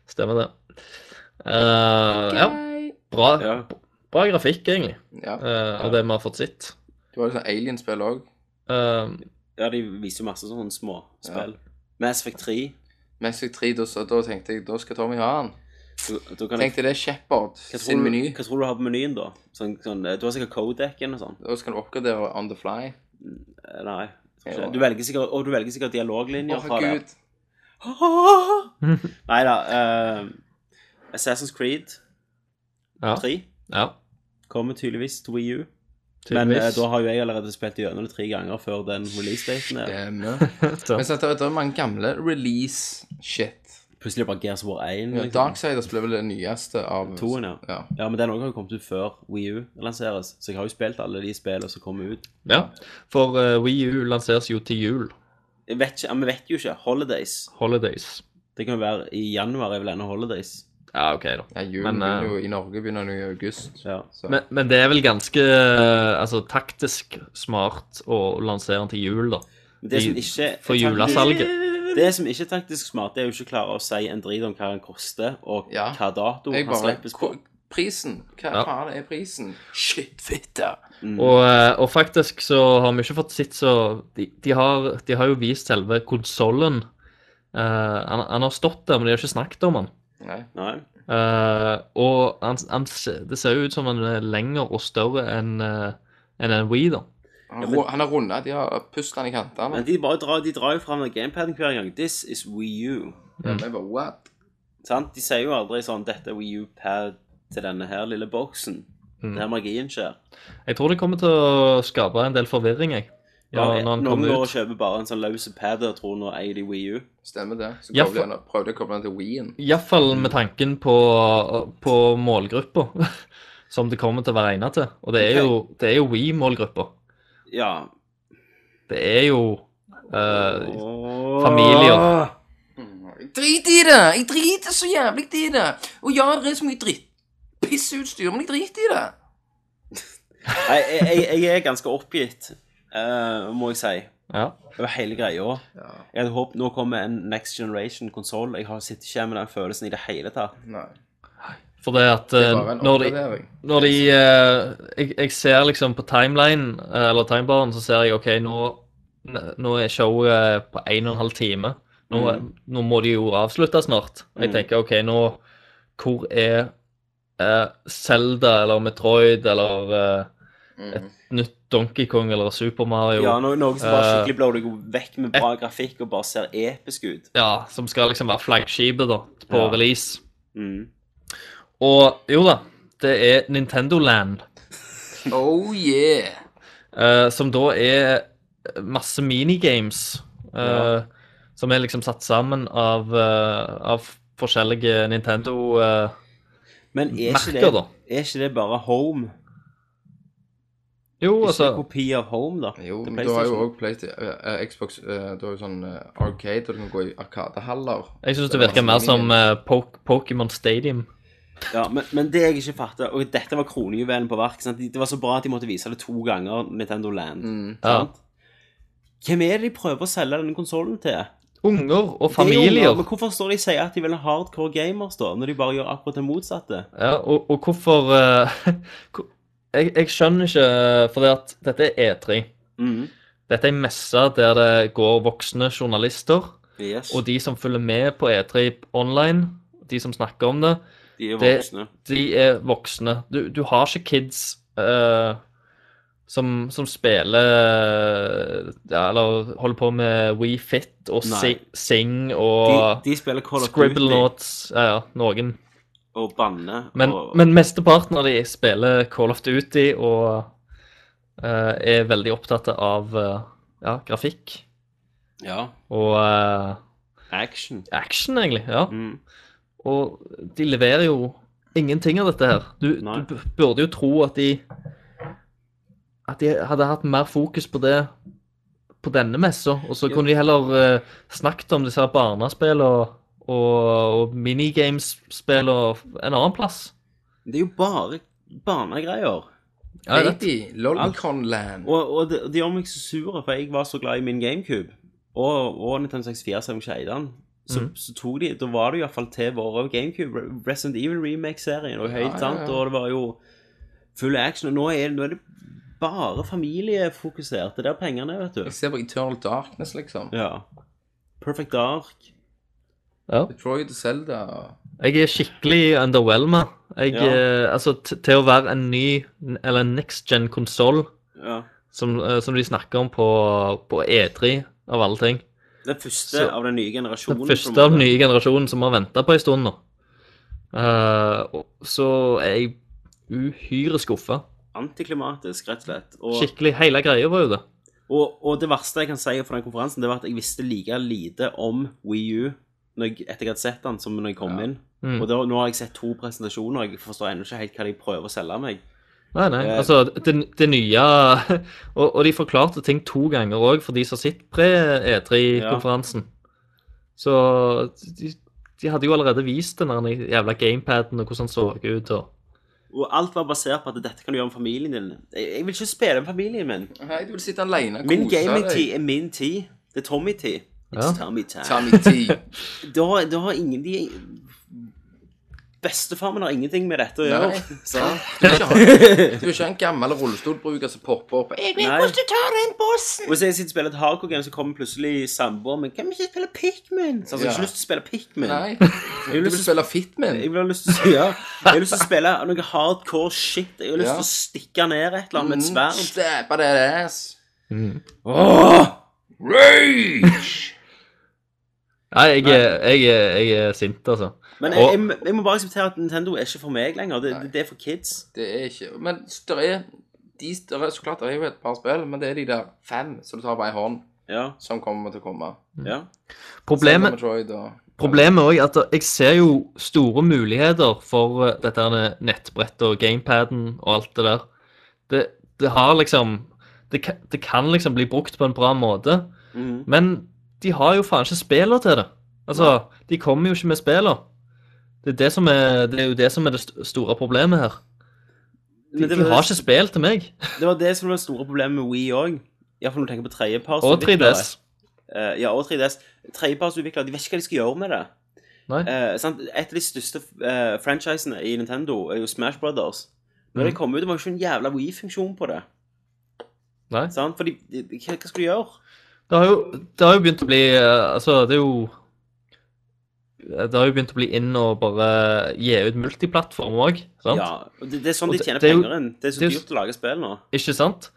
Stemmer det. Eh, ja. Bra,
Ja.
bra grafikk, egentlig,
Ja.
eh, av det vi har fått sett.
Det var jo sånn alien-spill òg.
Eh,
ja, de viser jo masse sånne små spill. Mass Effect 3.
Mens jeg tre, da, så- da tenkte jeg da skal Tommy ha den.
Da- da kan jeg-
Tenkte det er Shepherd
Hva
sin
tror, du,
meny.
hva tror du har på menyen, da? Sånn, sånn, eh, du har sikkert Kodekken og sånn.
Da skal du oppgradere on the fly.
Eh, Nei. jeg tror
Jo.
ikke. Du velger sikkert, og du velger sikkert
Å,
dialoglinjer fra det.
herregud.
Nei da. eh, Assassin's Creed
ja.
3
ja.
kommer tydeligvis til Wii U. Men eh,
Tydeligvis.
da har jo jeg allerede spilt gjennom det tre ganger før den releasedaten er.
Stemmer.
Så-
Men så er det er mange gamle release-shit.
Plutselig bare Gears of War 1.
Ja,
Liksom.
Darksiders ble vel det nyeste av
Toen, ja.
ja.
Ja, men den også har jo kommet ut før Wii U lanseres, så jeg har jo spilt alle de spillene som kommer ut.
Ja, for uh, Wii U lanseres jo til jul.
Jeg vet ikke, ja, Vi vet jo ikke. Holidays.
Holidays.
Det kan jo være i januar er vel ennå Holidays.
Ja, OK, da.
Ja, julen
Men, eh,
begynner jo, I Norge begynner den jo i august.
Ja.
Så.
Men, men det er vel ganske eh, altså, taktisk smart å lansere den til jul, da.
Men det som ikke er
For
taktisk-
julesalget.
Det som ikke er taktisk smart, det er jo ikke å klare å si en drit om hva den koster, og
Ja.
hva dato
jeg
den
bare
slippes på.
hvor, Prisen! Hva
Ja.
faen er prisen? Shit, fitte!
Mm,
Og, eh, og faktisk så har vi ikke fått sett så De, de, har, de har jo vist selve konsollen. Eh, han, han har stått der, men de har ikke snakket om han.
Nei.
Nei.
Eh, og han, han, se- det ser jo ut som han er lengre og større enn eh, enn en Wii, da.
Han,
Ja,
ja,
men-
han har runda, de har pustet han i kantene.
Men de bare drar, de drar jo fram den gamepaden hver gang. This is Wii U.
Ja, men jeg bare, what?
Sant? De sier jo aldri sånn 'Dette er Wii U-pad til denne her lille boksen'.
Mm.
Der magien skjer.
Jeg tror det kommer til å skape en del forvirring, jeg.
Ja,
Når, når han
noen
kommer
går og
ut.
kjøper bare en sånn løs pad og tror nå eier de Wii U.
Stemmer det. Så
Ja,
koblet
for-
han- prøvde jeg å koble den til Wien.
Iallfall med tanken på, på målgruppa som det kommer til å være egnet til. Og det er jo, det er jo Wii-målgruppa.
Ja.
Det er jo eh,
Åh.
familier.
Drit i det! Jeg driter så jævlig i det! Og ja, det er så mye dritt. Pissutstyr, men jeg driter i det.
Nei, jeg, jeg, jeg er ganske oppgitt, eh, må jeg si.
Ja.
Over hele greia. Jeg hadde håpet nå kommer en next generation konsoll. Jeg har sitter ikke med den følelsen i det hele tatt.
Nei.
For det at eh,
Bare en
når de,
oppgradering.
når de eh, jeg, jeg ser liksom på timeline, eh, eller timebaren, så ser jeg OK, nå, nå er showet eh, på en og en halv time. Nå, nå må de jo avslutte snart. Og
Mm.
jeg tenker OK, nå Hvor er eh, Zelda eller Metroid eller eh,
Mm.
nytt Donkey Kong eller Super Mario?
Ja, noe, noe som bare
Eh,
skikkelig blår deg vekk med bra grafikk og bare ser episk ut.
ja, som skal liksom være flaggskipet da, på
Ja.
release.
Mm.
Og jo da, det er Nintendo Land,
Oh yeah!
eh, som da er masse minigames, eh,
Ja.
som er liksom satt sammen av, eh, av forskjellige Nintendo-merker,
Men er ikke, det,
da.
er ikke det bare Home?
Jo,
Ikke
altså,
kopi av Home, da?
Jo,
til
men du har jo
PlayStation?
også Playsta- eh, eh, Xbox eh, Du har jo sånn eh, arcade, og du kan gå i arkadehaller.
jeg synes det virker mer som eh, Pok- Pokémon Stadium.
Ja, men, men det jeg ikke fatter Og dette var kronjuvelen på verk. Sant? Det var så bra at de måtte vise det to ganger, Nintendo Land.
Mm.
Sant? Hvem er det de prøver å selge denne konsollen til?
Unger og
Det er jo
familier.
ungdom, Men hvorfor står de og sier at de vil ha hardcore gamers, da, når de bare gjør akkurat det motsatte?
Ja, og, og hvorfor eh, hvor- jeg, jeg skjønner ikke, for det at dette er E3.
Mm.
Dette er en messe der det går voksne journalister,
Yes,
og de som følger med på E3 online, de som snakker om det,
de er
det-
voksne.
de er voksne. Du, du har ikke kids eh, som, som spiller ja, Eller holder på med WeFit og
Nei.
si, Sing
De,
og
de spiller Call of
Scribble
Duty
Notes. Ja, ja, noen.
og banner.
Men,
og,
men mesteparten av de spiller Call of Duty og eh, er veldig opptatt av eh, ja, grafikk
Ja.
og eh,
Action.
action, egentlig. ja.
Mm.
Og de leverer jo ingenting av dette her. Du,
Nei.
du b- burde jo tro at de At de hadde hatt mer fokus på det på denne messa, og så
Ja.
kunne de heller eh, snakket om disse her barnespill og, og, og minigamespill og en annen plass.
Det er jo bare barnegreier.
Ja, jeg vet.
Lady, Lolliconland.
Og, og det, det gjør meg så sur, for jeg var så glad i min GameCube. Og, og Nintendo 64, selv om jeg ikke eide den. Så,
Mm.
så tok de, da var det iallfall til våre GameCube. Resident Evil Remake-serien og
Ja,
høyt,
ja,
sant.
ja.
Og det var jo full action. Og nå er, nå er det bare familiefokusert. Det er der pengene er, vet
Jeg
du.
ser på Eternal Darkness, liksom.
Ja. Perfect Dark.
Ja.
Detroit og Zelda og
Jeg er skikkelig underwhelma. Jeg,
Ja.
eh, altså, t- til å være en ny, eller en next gen-konsoll,
Ja.
som, eh, som de snakker om på, på E3, av alle ting.
Den første
Så-
av den nye generasjonen.
Den
på en
første
måte.
av den nye generasjonen som har venta på ei stund nå. Eh, og- så er jeg uhyre skuffa.
Antiklimatisk, rett og slett. Og,
Skikkelig. Hele greia var jo det.
Og, og det verste jeg kan si fra den konferansen, det var at jeg visste like lite om Wii U når jeg, etter jeg hadde sett den, som når jeg kom inn.
Mm.
Og da, nå har jeg sett to presentasjoner, og jeg forstår ennå ikke helt hva de prøver å selge meg.
Nei, nei.
Eh.
Altså, det, det nye og, og de forklarte ting to ganger E òg for de som sitter pre E3-konferansen. Så de de hadde jo allerede vist den der jævla gamepaden og hvordan den så ut. og...
Og alt var basert på at dette kan du gjøre med familien din. Jeg, jeg vil ikke spille med familien min.
Nei, du vil sitte alene og
Min
kose
gaming-tid er min tid. Det er Tommy-tid. It's
Ja.
Tommy time.
Tommy T.
Da, da har ingen de Bestefar min har ingenting med dette å gjøre.
Nei.
Så-
Du vil ikke ha- du vil ikke ha en gammel rullestolbruker som popper opp. Jeg vil
Nei.
ikke ta den bossen!
Og hvis jeg sitter og spiller et hardcore game, så kommer plutselig samboeren min. Kan vi ikke spille Pikmin? Så altså, jeg har
Ja.
ikke lyst til å spille Pikmin.
Nei.
vil
Du vil
så-
spille Fitman.
Jeg vil ha lyst til å si ja. Jeg har lyst til å spille noe hardcore shit. Jeg har lyst
Ja. Mhm.
til å stikke ned et eller annet med et
Mm,
sverd.
Stabba that ass.
Nei, jeg, er- jeg, er- jeg er sint, altså.
Men jeg,
Og-
jeg, jeg må bare akseptere at Nintendo er ikke for meg lenger. Det, det, det er for kids.
Det er ikke Men det er de større, så klart det er jo et par spill, men det er de der fem som du tar på ei hånd,
Ja,
som kommer til å komme.
ja.
Zelda,
Problemet,
Metroid og
problemet er også at jeg ser jo store muligheter for eh, dette her nettbrettet og gamepaden og alt det der. Det, det har liksom det kan, det kan liksom bli brukt på en bra måte,
Mhm.
men de har jo faen ikke spillene til det. Altså, de kommer jo ikke med spillene. Det er, det, som er, det er jo det som er det st- store problemet her. De,
Men det
de
var-
har ikke spill til meg.
Det var det som var det store problemet med Wii òg. Iallfall når du tenker på tredjepars.
Og 3DS.
Eh, ja, og 3DS. Tredjepartsutviklere de vet ikke hva de skal gjøre med det.
Nei.
Eh, sant? Et av de største eh, franchisene i Nintendo er jo Smash Brothers. Når
Mhm.
det kom ut, det var jo ikke en jævla Wii-funksjon på det.
Nei.
Sant? For de, de, de- hva hva skal du gjøre?
Det har jo, det har jo begynt å bli eh, Altså, det er jo Det har jo begynt å bli inn å bare gi ut multiplattform òg, sant?
Ja, og det, det er sånn
Og
de
det-
tjener
det er jo-
penger inn. Det er så
det er jo-
dyrt å lage spill nå.
Ikke sant?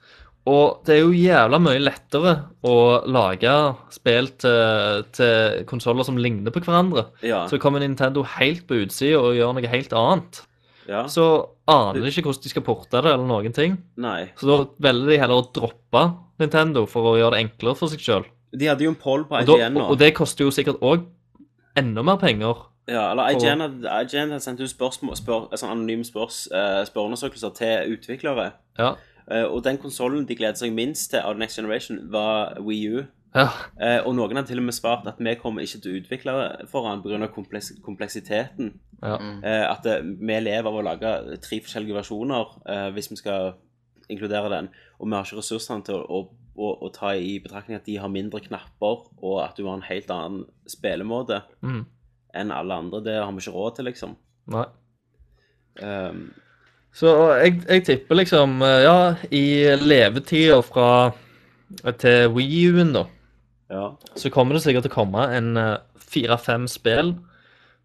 Og det er jo jævla mye lettere å lage spill til, til konsoller som ligner på hverandre.
Ja.
Så kommer Nintendo helt på utsida og gjør noe helt annet.
ja.
Så aner de ikke hvordan de skal porte det, eller noen ting.
Nei.
Så da velger de heller å droppe Nintendo for å gjøre det enklere for seg sjøl.
De hadde jo en poll på
Og, da-
IGN nå.
og, og det koster jo sikkert òg enda mer penger.
Ja, eller
Og-
IGN hadde, IGN hadde sendt ut spørsmål, spør, altså anonyme spørs, eh, spørreundersøkelser til utviklere.
Ja.
Eh, og den konsollen de gleder seg minst til av Next Generation, var Wii U.
ja.
Eh, og noen har til og med svart at vi kommer ikke til å utvikle det for han pga. Kompleks kompleksiteten.
Ja.
Mm.
Eh, at eh, vi lever av å lage tre forskjellige versjoner eh, hvis vi skal inkludere den. Og vi har ikke ressursene til å, å, å, å ta i betraktning at de har mindre knapper, og at du har en helt annen spillemåte
Mm.
enn alle andre. Det har vi ikke råd til, liksom.
Nei.
Um,
Så jeg, jeg tipper liksom eh, Ja, i levetida fra eh, til WiiU-en, da,
ja.
så kommer det sikkert til å komme en eh, fire-fem spill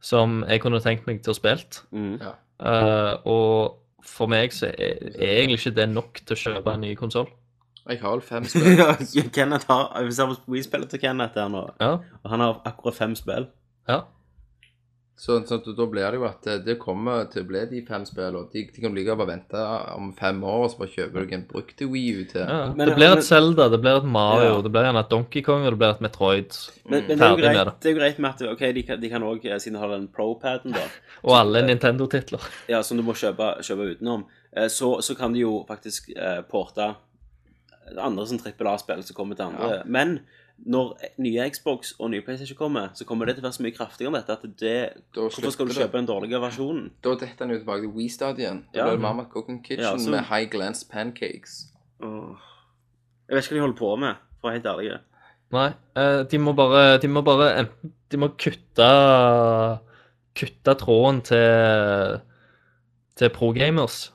som jeg kunne tenkt meg til å spilt.
Mm.
Eh, og for meg så er, er egentlig ikke det nok til å kjøpe en ny konsoll.
Jeg har vel fem spill.
Kenneth har, Vi ser på Wii-spillet til Kenneth her nå,
Ja.
og han har akkurat fem spill.
ja.
Så, så da blir det jo at eh, det- det kommer til å bli de fem spillene. De, de kan like bare vente om fem år, og så bare kjøper du en brukt Wii U til.
ja.
Men-
det blir
men-
et Zelda, det blir et Mario,
Ja.
det blir gjerne et Donkey Kong, og det blir et Metroid.
Men, men det, er jo
Ferdig med
greit,
det.
det er jo greit med at ok, de, kan- de kan òg, siden de har den pro-paden, da,
Og alle Nintendo-titler.
ja, som du må kjøpe, kjøpe utenom, eh, så, så kan de jo faktisk eh, porte andre som trippel A-spill som kommer til andre. Men når nye Xbox og nye PlayStation kommer, så kommer det til å være så mye kraftigere enn dette at det
Da
Hvorfor skal du
slipper det.
kjøpe den dårlige versjonen?
Da detter han jo tilbake til Wii-stadien. Da
Ja.
blir det Mamma Cooking Kitchen
Ja, så-
med High Glance Pancakes.
Jeg vet ikke hva de holder på med, for å være helt ærlig.
Nei, eh, de må bare, de må bare enten De må kutte Kutte tråden til Til pro-gamers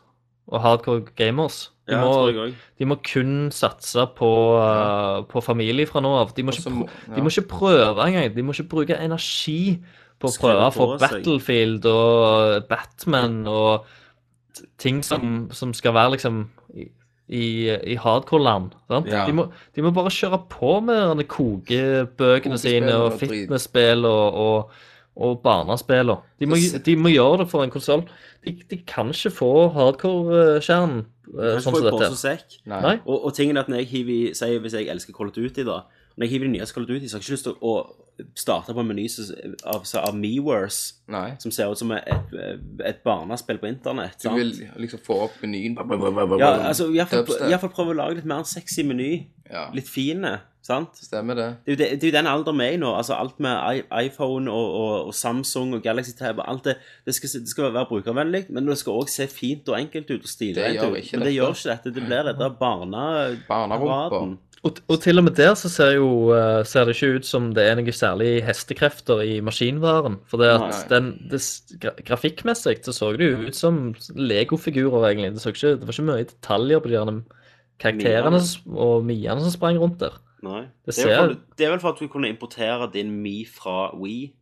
og hardcore gamers. De,
Ja, det tror jeg
må,
også.
de må kun satse på, eh, på familie fra nå av. De må,
Og så
ikke,
må-
prø-
ja.
de må ikke prøve engang. De må ikke bruke energi på å
Skrive
prøve
på
for
seg.
Battlefield og Batman og t- ting som, som skal være liksom i, i- i hardcore-land. sant?
Ja.
De, må- de må bare kjøre på med denne kokebøkene
Kokespill
sine og
og drit.
fitnessspill og, og, og barnespill. og- De, må
Så
gj- de må gjøre det for en konsoll. De, de kan ikke få hardcore-kjernen eh,
Kanskje får
sånn som
jeg
dette.
pose og sekk.
Nei.
Nei?
Og, og tingen er at når jeg hiver, sier hvis jeg elsker Call of Duty da, når jeg hiver de nye Call of Duty, så har jeg ikke lyst til å starte på en meny som- av, av Meverse,
Nei.
som ser ut som et, et barnespill på internett.
Du
sant?
vil liksom få opp menyen.
Ja, altså, i hvert fall-
Dubstep.
i hvert fall prøve å lage litt mer sexy meny.
Ja.
Litt fine. Sant?
Stemmer det.
Det er jo det- det er jo den alderen vi er i nå. altså Alt med i- iPhone og, og, og Samsung og Galaxy Tab og alt det. Det skal, det skal være brukervennlig, men det skal òg se fint og enkelt ut og
Det
stilrent
gjør
ut.
ikke
Men det
dette.
gjør ikke dette. Det blir dette barneraden.
Barnerumpa.
Og, og til og med der så ser, jo, eh, ser det ikke ut som det er noe særlig hestekrefter i maskinvaren. For det at
Nei.
den, det, s- gra- grafikkmessig så så det jo ut som legofigurer, egentlig. Det, så ikke, det var ikke mye detaljer på de gjerne karakterene
Miene.
s- og miene som sprang rundt der.
Nei.
Det
Det er, vel
ser-
for, det er vel for at du kunne importere din Mi fra Wii.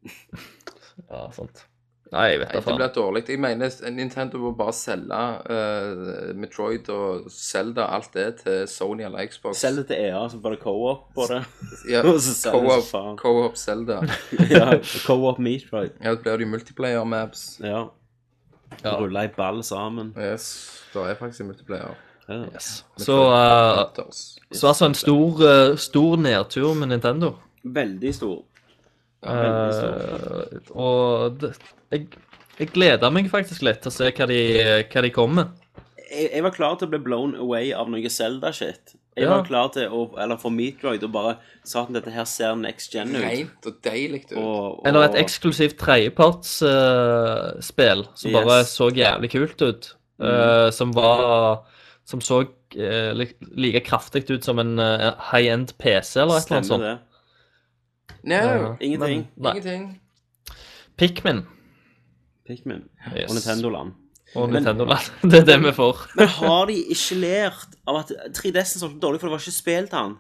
Ja, sant. Nei, jeg vet
Nei,
da
det
faen.
blir dårlig. Jeg mener Nintendo må bare selge eh, Metroid og Zelda alt det til Sony eller Xbox.
Selg det til EA, så får du co-op på det.
ja,
og så selger
co-op-
du så faen.
Co-op Zelda.
ja, Co-op Metroid.
Ja, det blir det jo multiplayer maps.
Ja.
Ja.
Rulle ei ball sammen.
Yes, det er faktisk en multiplayer.
Ja.
Yes.
Metroid
Så, eh,
Hunters.
så altså en stor, eh, stor nedtur med Nintendo.
Veldig stor. veldig stor.
Eh, og det, jeg, jeg gleder meg faktisk litt til å se hva de, hva de kommer med.
jeg, jeg var klar til å bli blown away av noe Zelda-shit. Jeg
Ja.
var klar til å, eller for Meatroid og bare sa at dette her ser next gen ut.
Rent og deilig ut.
Og, og,
Eller et eksklusivt tredjepartsspill eh, som bare
Yes. Mm.
så jævlig kult ut. eh, som var Som så eh, li, like kraftig ut som en eh, high-end PC eller et eller annet
Stemmer
sånt.
det.
No,
Eh,
Ingenting.
Men, nei.
ingenting.
Pikmin
Pikmin.
yes.
Og Nintendo-land.
og
Men-
Nintendo Land. det er det vi får.
Men har de ikke lært av at 3DS-en solgte sånn dårlig, for det var ikke spilt han?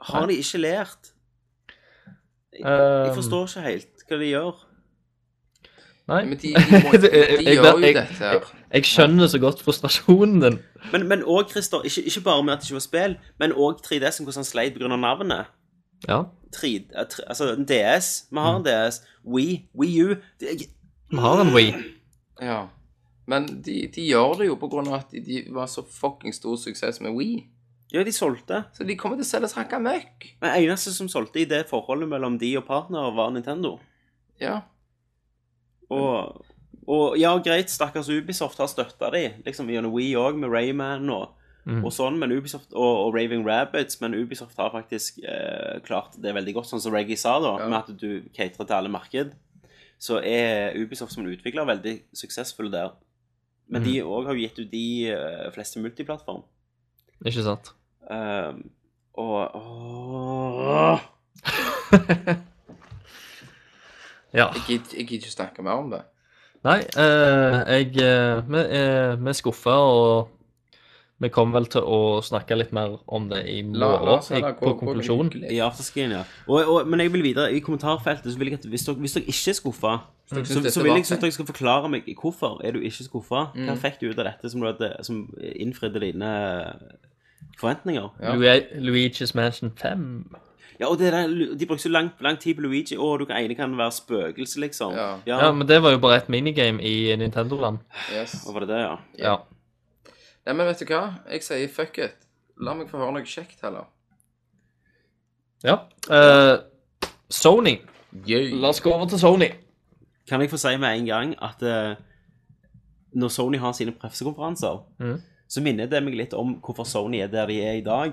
Har de ikke lært? Jeg, jeg
Um.
forstår ikke helt hva de gjør.
Nei.
Men de, de, må, de,
Jeg- jeg-
gjør jo
jeg-
dette her.
Jeg skjønner så godt frustrasjonen din.
Men, men også, Christer, ikke, ikke bare med at det ikke var spill, men òg 3DS-en, hvordan han sleit pga. navnet.
Ja.
3, eh, tre- altså en DS, vi har en DS, Wii, Wii U det,
Vi har en Wii.
Ja. Men de, de gjør det jo på grunn av at de, de var så fucking stor suksess med Wii.
Ja, de solgte.
Så de kommer til å selge så hakka møkk.
Men eneste som solgte i det forholdet mellom de og partnere, var Nintendo.
Ja.
Og, og ja, greit, stakkars Ubisoft har støtta de, liksom gjennom Wii òg, med Rayman og,
Mhm.
og sånn, men Ubisoft og, og Raving Rabbits, men Ubisoft har faktisk eh, klart det veldig godt, sånn som Reggie sa, da,
Ja.
med at du caterer til alle marked. Så er Ubisoft som en utvikler veldig suksessfull der. Men de òg har jo gitt ut de eh, fleste multiplattform.
Ikke sant?
Ehm, og åh,
Ja.
Jeg gidder jeg gidder ikke snakke mer om det.
Nei, eh, jeg eh, Vi eh, vi er skuffa, og vi kommer vel til å snakke litt mer om det i
La- la
morgen,
oss
jeg-
heller gå-
på
gå
konklusjonen.
lykkelig.
I afterskien, ja. Og, og, men jeg vil videre. I kommentarfeltet så vil jeg at hvis dere, hvis dere ikke er skuffa, så,
dere synes dette Mm.
så vil
var
jeg at
fett.
dere skal forklare meg hvorfor er du ikke skuffa. Hva fikk du ut av dette som, du hadde, som innfridde dine forventninger?
Ja.
Lu- Luigi's Mansion 5.
Ja, og det der, De bruker så lang, lang tid på Luigi. Å, du kan ene kan være spøkelse, liksom.
Ja.
Ja, men det var jo bare et minigame i Nintendo-land.
Yes.
Og var det det, ja?
Ja.
Nei, men vet du hva? Jeg sier fuck it. La meg få høre noe kjekt heller.
ja. Eh, Sony.
Yay.
La oss gå over til Sony.
Kan jeg få si med en gang at eh, når Sony har sine pressekonferanser,
Mhm.
så minner det meg litt om hvorfor Sony er der de er i dag.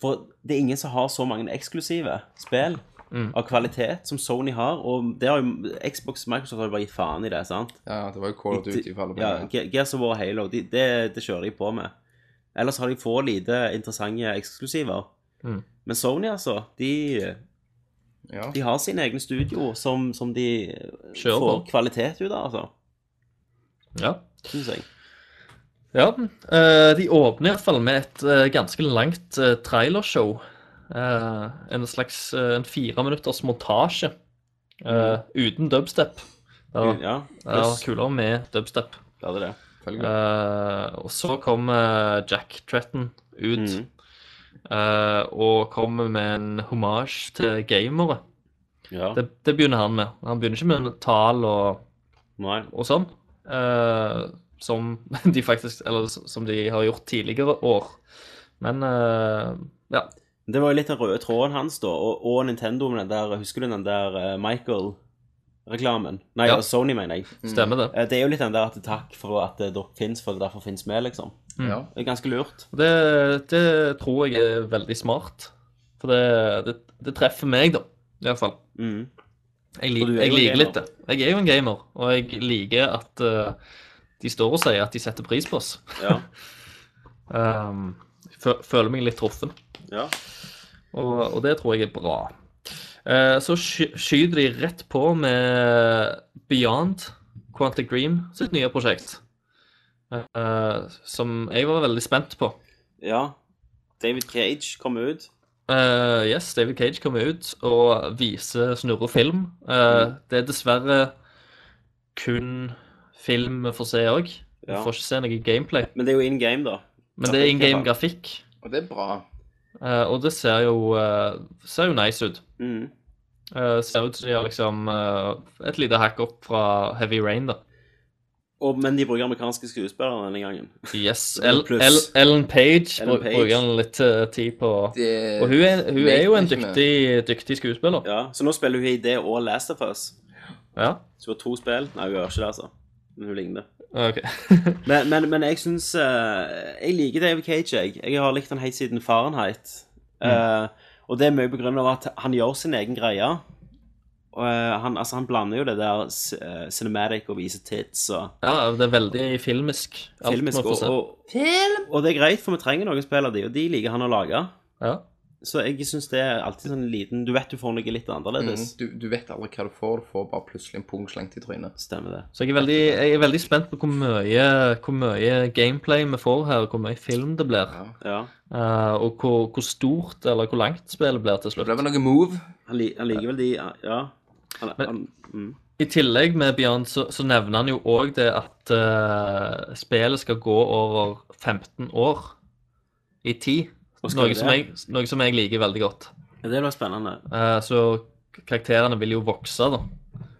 For det er ingen som har så mange eksklusive spill
Mhm.
av kvalitet som Sony har. Og det har jo Xbox og Microsoft har jo bare gitt faen i det, sant?
Ja, det var jo Call of Duty for alle
ja,
pengene.
Ge- Gears of War og Halo, de, det, det kjører de på med. Ellers har de få lite interessante eksklusiver.
Mhm.
Men Sony, altså, de,
Ja.
de har sine egne studioer som, som de eh,
Kjører
får
på.
kvalitet ut av, altså.
Ja.
Synes jeg.
ja. eh, de åpner iallfall med et eh, ganske langt eh, trailershow. Eh, en slags eh, en fire minutters montasje eh, uten dubstep.
Ja,
Ja, ja, kulere med dubstep.
det hadde det.
Følgelig.
Eh, og så kommer Jack Tretton ut
Mhm.
eh, og kommer med en hommage til gamere.
Ja.
Det, det begynner han med. Han begynner ikke med tall og
Nei.
og sånn. eh, som de faktisk Eller s- som de har gjort tidligere år. Men eh, ja.
Det var jo litt den røde tråden hans, da, og, og Nintendo med den der Husker du den der eh, Michael? Wii-reklamen. Nei,
Ja.
Sony, mener jeg.
Stemmer det.
Eh, Det er jo litt den der at takk for at eh, dere fins, for derfor fins vi, liksom.
Mm.
Ja.
Det er ganske lurt.
Det, det tror jeg er veldig smart. For det, det, det treffer meg, da. I hvert fall.
Mm.
Jeg,
Og
lik,
du er
jeg
jo en
liker
gamer.
litt det. Jeg er jo en gamer, og jeg liker at eh, de står og sier at de setter pris på oss.
Ja.
Um, fø- føler meg litt truffen,
ja.
og, og det tror jeg er bra. Eh, så sky, skyter de rett på med Beyond Quantic Dream sitt nye prosjekt. eh, som jeg var veldig spent på.
ja. David Cage kom ut.
Eh, yes, David Cage kommer ut og viser Snurre film. Eh, Det er dessverre kun film vi får se òg. Vi
Ja.
får ikke se noe gameplay.
Men det er jo in game, da.
Men det er in game grafikk,
Og det er bra.
eh, og det ser jo, eh, ser jo nice ut.
Mm.
Eh, ser ut som de har liksom eh, et lite hack opp fra Heavy Rain, da.
Og, men de bruker amerikanske skuespillere denne gangen.
Yes.
Det er
El,
noe pluss.
El, Ellen Page
Ellen
bru-
Page.
bruker han litt eh, tid på.
Det,
Og hun er, hun er jo en
Vet ikke med.
dyktig, dyktig skuespiller.
Ja, Så nå spiller hun i det og Last of Us.
Ja.
Så hun har to spill. Nei, hun gjør ikke det, altså. Men hun ligner.
OK.
Men, men, men jeg syns Jeg liker David Cage, jeg. Jeg har likt han helt siden Fahrenheit. Eh, og det er mye på grunn av at han gjør sin egen greie. Og, eh, han, altså, han blander jo det der c- eh, cinematic og viser tits og
Ja, det er veldig filmisk. alt man
filmisk.
får
Og,
se.
og, og det er greit, for vi trenger noen spill av de, og de liker han å lage.
Ja.
Så jeg syns det er alltid sånn liten Du vet du får noe litt annerledes.
Mm, du, du vet aldri hva du får. Du får bare plutselig en pung slengt i
Mhm.
trynet.
Stemmer det.
Så jeg er, veldig, jeg er veldig spent på hvor mye, hvor mye gameplay vi får her, og hvor mye film det blir.
Ja.
Ja.
Eh, og hvor, hvor stort eller hvor langt spillet blir til
Det
slutt.
ble vel noe move.
Han, li, han liker vel de Ja. Han,
Men-
han, mm.
I tillegg med Beyond så, så nevner han jo òg det at eh, spillet skal gå over 15 år i tid.
Og skal
Noe
det?
som, jeg, noe som jeg liker veldig godt.
Ja, Det var spennende.
Eh, så karakterene vil jo vokse, da.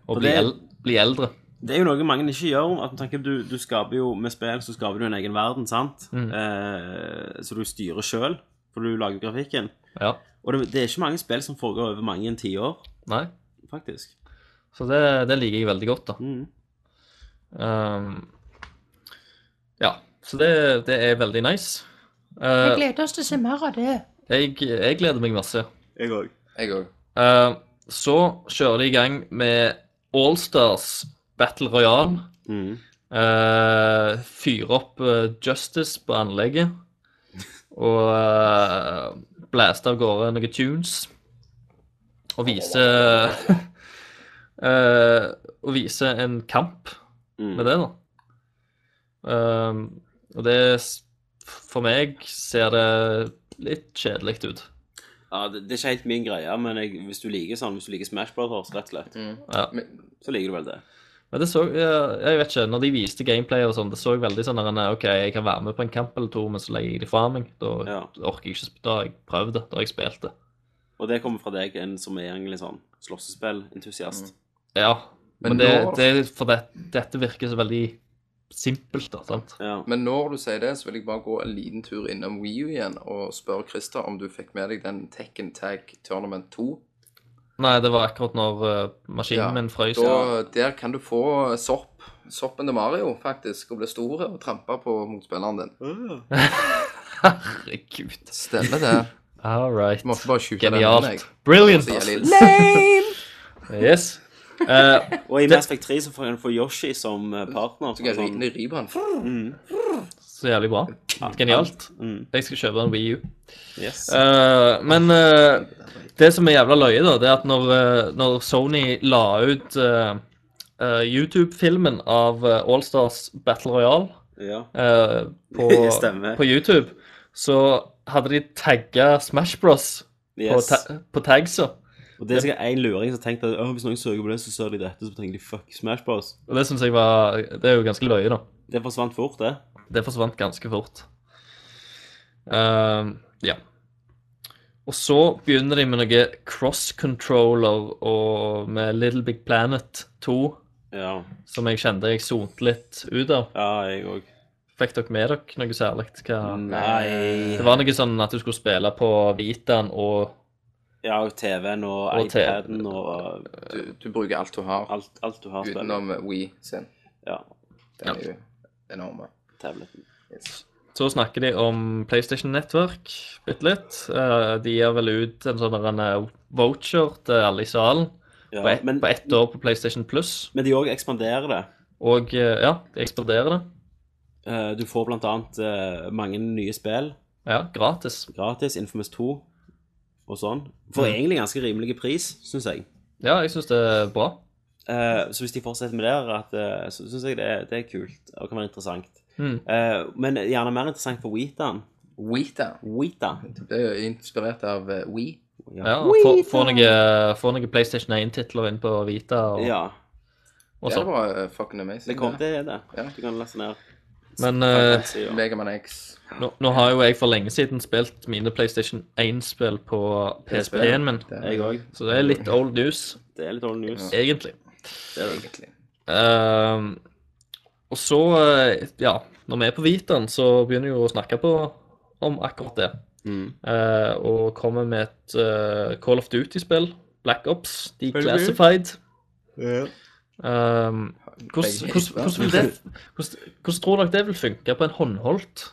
Og, bli,
det-
el bli eldre.
Det er jo noe mange ikke gjør. at man tenker, du, du skaper jo, Med spill så skaper du en egen verden, sant?
Mm.
Eh, så du styrer sjøl, for du lager grafikken.
Ja.
Og det, det er ikke mange spill som foregår over mange tiår,
Nei.
faktisk.
Så det, det liker jeg veldig godt, da.
Mm.
Um, ja, så det, det er veldig nice.
Vi
Uh,
gleder oss til å se mer av det.
jeg, jeg gleder meg masse.
Jeg òg.
Jeg òg.
Uh, så kjører de i gang med Allstars Battle Royale.
Mm.
Uh, Fyre opp uh, Justice på anlegget. Og uh, blaste av gårde noen tunes. Og vise uh, Og vise en kamp
Mm.
med det, da. Ehm, og det s- For meg ser det litt kjedelig ut.
Ja, det, det er ikke helt min greie, men jeg, hvis du liker sånn, hvis du liker Smash Brothers, rett og slett,
Mm. Men-
så liker du vel det.
Men det så ja, Jeg vet ikke, når de viste gameplay og sånn, det så veldig sånn der, nei, OK, jeg kan være med på en kamp eller to, men så legger jeg det fra meg. Da
Ja.
orker jeg ikke sp- Da har jeg prøvd det. Da har jeg spilt det.
Og det kommer fra deg, en som er egentlig sånn slåssespillentusiast.
Mm.
Ja.
Men
Men, det,
nå-
det er for det, dette virker så veldig simpelt, da. sant?
Ja.
Men når du sier det, så vil jeg bare gå en liten tur innom Wii U igjen og spørre Christer om du fikk med deg den Tekken Tag Tournament 2.
Nei, det var akkurat når eh, maskinen
Ja,
min frøys.
Da, der kan du få sopp. Soppen til Mario, faktisk, og bli stor og trampe på motspilleren din.
Herregud.
Stemmer det.
All right.
Du måtte bare skyte den inn, jeg.
Genialt. Brilliant.
Så jævlig
ass.
ille.
Yes. Eh,
Og i Mass Effect 3 så får en få Yoshi som eh, partner.
Så kan jeg
sånn-
ri- ri på den.
så jævlig bra. Genialt.
Mm.
Jeg skal kjøpe en Wii U.
Yes.
Eh, men eh, det som er jævla løye, da, det er at når, eh, når Sony la ut eh, eh, YouTube-filmen av eh, All Allstars Battle Royale
Ja.
eh, på,
Stemmer.
på YouTube, så hadde de tagga Smash Bros. På,
Yes.
ta på tagsa.
Og det er sikkert en luring som tenkte at «Åh, hvis noen søker på det, så ser de dette, så tenker de fuck Smash Bros.
Og det syns jeg var Det er jo ganske løye, da.
Det forsvant fort, det.
Det forsvant ganske fort. Ehm, ja. Og så begynner de med noe cross-controller og med Little Big Planet 2,
Ja,
som jeg kjente jeg sonte litt ut av.
ja jeg òg.
Fikk dere med dere noe særlig? Hva?
Ah, Nei
Det var noe sånn at du skulle spille på Vitaen og
Ja, og TV-en og,
Og
iPaden og
Du, du bruker alt du har
alt, alt du har spilt.
utenom Wii sin.
Ja,
Den er jo enorme.
tableten.
Yes.
Så snakker de om PlayStation Network bitte litt. Eh, de gir vel ut en sånn der en eh, voucher til alle i salen
Ja,
på, ett-
men,
på ett år på PlayStation Pluss.
men de òg ekspanderer det.
Og eh, ja, de eksploderer det.
Eh, Du får blant annet eh, mange nye spill
Ja, gratis.
gratis, Infamous 2 og sånn. For
Mm.
egentlig ganske rimelig pris, syns jeg.
Ja, jeg syns det er bra.
Eh, så hvis de fortsetter med det, her, at, eh, så syns jeg det, er- det er kult og kan være interessant.
Mm.
Eh, men gjerne mer interessant for Wheaton.
Wita.
Wheaton.
Det ble jo inspirert av eh, Wii.
Ja, få, få, noen, få noen PlayStation 1-titler inn på Vita og,
Ja,
og
Det
sånn.
var eh, fucking amazing.
det kom til det.
Ja.
Du kan laste ned.
Men eh,
Fantasy og-
Megaman X.
nå, nå har jo jeg for lenge siden spilt mine PlayStation 1-spill på PSP-en min,
Det er
jeg òg.
så det er litt old news,
Det er litt dårlig news.
egentlig.
Det er det.
egentlig.
Ehm, og så, eh, ja, når vi er på Vitaen, så begynner vi jo å snakke på om akkurat det.
Mm.
Eh, og kommer med et eh, Call of Duty-spill, Black Ops, Declassified. Ehm, hvordan-
Begge
hvordan-
hit, da.
hvordan vil det- hvordan- hvordan tror dere det vil funke på en håndholdt?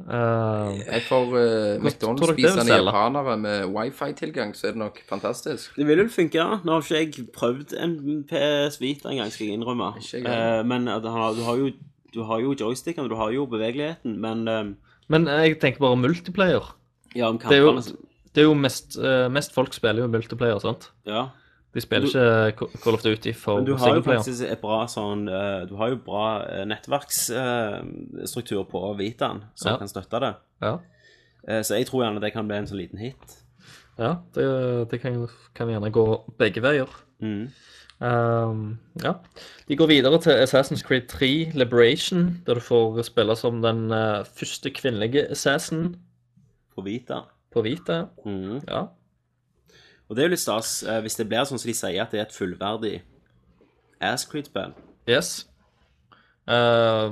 Ehm,
Nei, for eh,
tror dere det vil
McDonald's-spisende
selge?
japanere med wifi-tilgang, så er det nok fantastisk.
Det vil vel funke. ja. Nå har ikke jeg prøvd en PS Vita engang, skal jeg innrømme.
Ikke jeg heller.
Eh, men at han har- du har jo, du har jo joystickene, du har jo bevegeligheten, men eh,
men jeg tenker bare multiplayer.
ja, om
er jo-
kampene så-
Det er jo mest, eh, mest folk spiller jo multiplayer, sant?
Ja.
De spiller
Du-
ikke Ca- Call of Duty for
Men du har jo
singleplayer.
faktisk et bra sånn eh, Du har jo bra eh, nettverksstruktur på Vitaen som
Ja.
kan støtte det.
Ja,
Eh, Så jeg tror gjerne det kan bli en sånn liten hit.
ja det, det kan, kan gjerne gå begge veier.
Mm.
Ehm, ja. De går videre til Assassin's Creed 3 Liberation, der du får spille som den eh, første kvinnelige assassin
På Vita.
på Vita.
Mm.
Ja.
Og det er jo litt stas eh, hvis det blir sånn som de sier, at det er et fullverdig Ascreed-spill.
Yes. Eh,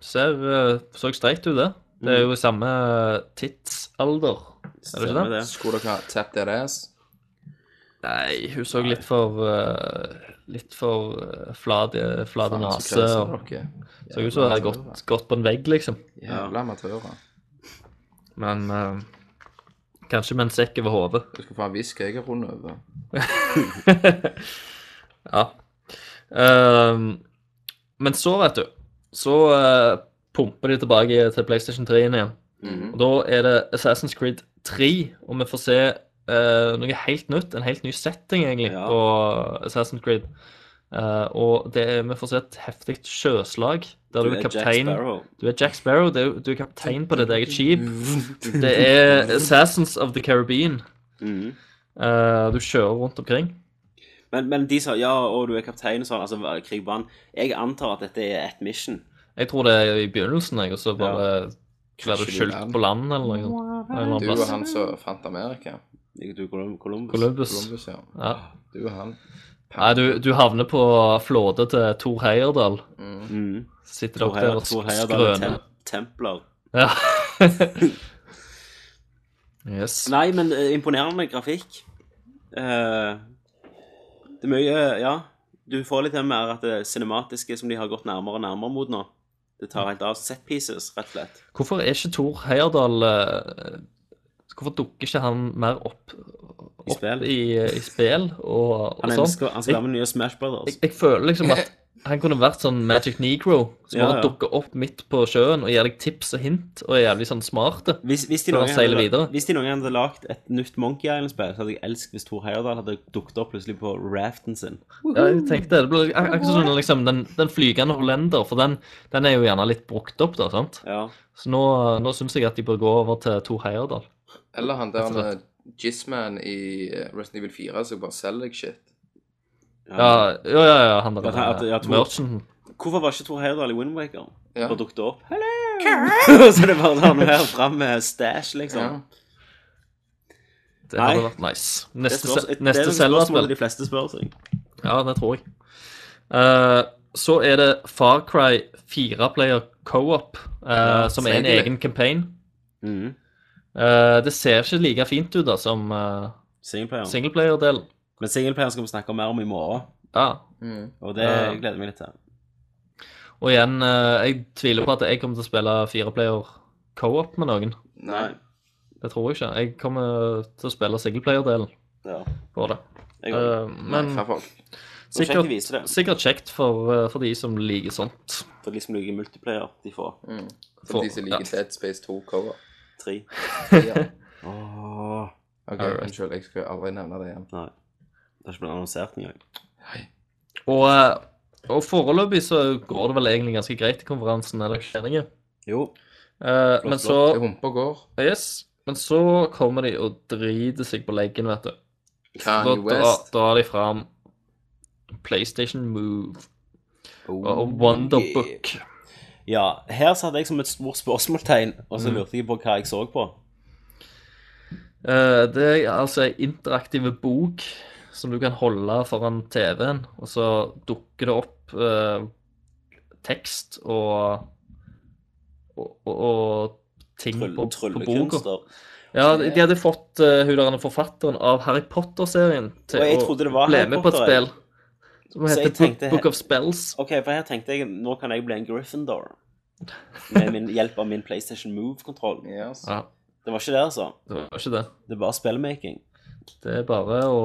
ser eh, Så streit ut, det. Det er jo samme eh, tidsalder. Er Mm. det ikke
Stemmer
det?
det?
Skulle dere ha tapped their ass?
Nei, hun så litt for eh, Litt for eh, flat, eh, flat
Faen, så
nase.
krøser
og
dere.
Så ut som hun hadde gått, gått på en vegg, liksom.
Jævla amatører.
Men eh, kanskje med en sekk over hodet.
Du skal få en visk jeg har rundt over.
Ja. Ehm, men så, vet du, så eh, pumper de tilbake til PlayStation 3 -en igjen. Og da er det Assassin's Creed 3, og vi får se eh, noe helt nytt. En helt ny setting, egentlig,
Ja.
på Assassin's Creed. Eh, og det er, vi får se et heftig sjøslag, der du er kaptein.
Eh, Sparrow.
Du er Jack Sparrow, det er, jo- du er kaptein på ditt eget skip. Det er Assassins of the Caribbean.
Mm.
Eh, du kjører rundt omkring.
Men, men de sa ja, og du er kaptein og sånn, altså krig på han. Jeg antar at dette er et mission.
Jeg tror det er i begynnelsen, jeg, og så bare blir du
Krasjer du
skylt
land?
på land eller noe sånt. En eller annen
Du og
plass.
han som fant Amerika.
Du, Colum- Columbus.
Columbus.
Columbus, ja.
Ja.
Du og han.
Nei, du, du havner på flåte til Tor Heyerdahl.
Mm.
Sitter
Tor
dere der
Heyerdahl
og
Tor
sk-
Heyerdahl er
skrøner.
tem- Templar.
Ja. yes.
Nei, men eh, imponerende grafikk. Eh, det er mye Ja. Du får litt mer at det cinematiske som de har gått nærmere og nærmere mot nå. Det tar helt av. Set pieces, rett og slett.
Hvorfor er ikke Tor Heyerdahl eh, Hvorfor dukker ikke han mer opp,
I
opp
spill.
i, eh, i spill og, og
Han
sånn?
elsker, han skal være med nye Smash
Jeg,
Brothers.
jeg føler liksom at han kunne vært sånn Magic Negro, som
Ja,
bare
ja.
dukker opp midt på sjøen og gir deg tips og hint, og er jævlig sånn smart.
Hvis, hvis, de
Så han
noen
seiler
hadde,
videre.
hvis de noen gang hadde lagd et nytt Monkey Island-spill, så hadde jeg elsket hvis Tor Heyerdahl hadde dukket opp plutselig på raften sin.
Ja, jeg tenkte, det ble ak- akkurat sånn liksom, den, den flygende hollender, for den, den er jo gjerne litt brukt opp, da, sant?
Ja.
Så nå, nå syns jeg at de bør gå over til Tor Heyerdahl.
Eller han der
Rett og slett.
med Jizzman i eh, Resident Evil 4 som bare selger deg shit.
Ja, ja, ja, ja han der eh,
At han- at- ja, Tor-
merchanten.
Hvorfor var ikke Tor Heyerdahl i Windwaker?
Ja.
Bare dukket opp. Hello! så det er bare han her fram med stash,
Ja.
liksom.
Det
Nei.
hadde vært nice.
Det,
Neste,
spørs,
se-
det er
neste
noen spørsmål
Zelda-spill.
de fleste spør seg.
Ja, det tror jeg. Eh, så er det Far Cry 4-player co-op, eh, som er en
selvfølgelig. Mm.
egen campaign.
Mhm.
Eh, Eh, det ser ikke like fint ut da, som uh,
Singleplayer.
singleplayer-delen.
Men singleplayer skal vi snakke mer om i morgen,
Ja.
Mm.
og det
Ja.
gleder jeg meg litt til.
Og igjen, eh, jeg tviler på at jeg kommer til å spille fireplayer co-op med noen.
Nei.
Det tror jeg ikke. Jeg kommer til å spille singleplayer-delen
Ja.
på det.
Jeg går.
Eh, men
Nei, folk.
Det var kjekt å
sikkert,
vise det,
sikkert kjekt for, eh, for de som liker sånt.
for liksom de som liker multiplayer, de får
Mm.
For-
For de som liker Dead Space 2 cover.
tre.
Ja.
Åh,
Ok,
Alright.
Unnskyld, jeg skal aldri nevne det igjen.
nei. Det har ikke blitt annonsert engang.
Og, eh, og foreløpig så går det vel egentlig ganske greit i konferansen, er det ikke meningen?
Jo,
Eh, men
Det
så
humper og går.
Yes. Men så kommer de og driter seg på leggen, vet du. Da
Kanye
drar,
West.
drar de fram PlayStation Move
Oh,
og Wonderbook.
Ja, her satt jeg som et stort spørsmålstegn, og så
Mm.
lurte jeg på hva jeg så på.
Eh, det er altså ei interaktiv bok som du kan holde foran TV-en, og så dukker det opp eh, tekst og og, og, og ting
Tryll,
på, på boka.
tryllekunster.
Ja, de de hadde fått eh, hun der forfatteren av Harry Potter-serien til
Og jeg
å
trodde det var
bli
Harry
med på et
Potter, jeg.
spill som
Så jeg
heter
tenkte-
Book, Book of Spells.
Ok, for her tenkte jeg nå kan jeg bli en Gryffindor med min, hjelp av min PlayStation Move-kontroll.
Yes.
Ja,
Det var ikke det, altså.
det var ikke det.
Det var spillmaking.
Det er bare å,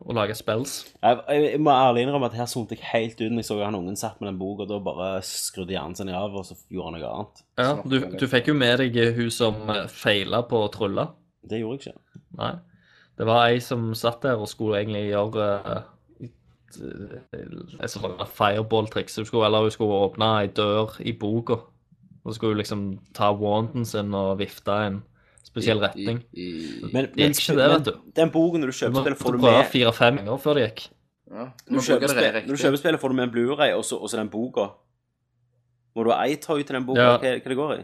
å lage spells.
Jeg, jeg, jeg må ærlig innrømme at her sonte jeg helt ut når jeg så han ungen satt med den boka, og da bare skrudde hjernen sin av, og så gjorde han noe annet.
Ja, du, du fikk jo med deg eh, hun som eh, feila på å trylle.
Det gjorde jeg ikke.
Nei. Det var ei som satt der og skulle egentlig gjøre eh, et- et sånt fireball-triks. Hun skulle- Eller hun skulle åpne ei dør i boka. Og så skulle hun liksom ta wanden sin og vifte i en spesiell retning.
I, i, i,
Men,
Det gikk ikke det, vet du.
den boken når du
Du
kjøper spillet,
måtte
får du
prøve
med
fire-fem ganger før det gikk.
ja. Du
Når
må
du
bruke
kjøper,
det
spill,
riktig.
når du kjøper spillet, får du med en Blu-ray og så og så den boka. Må du ha iToy til den boka?
Ja.
Hva, hva det går i?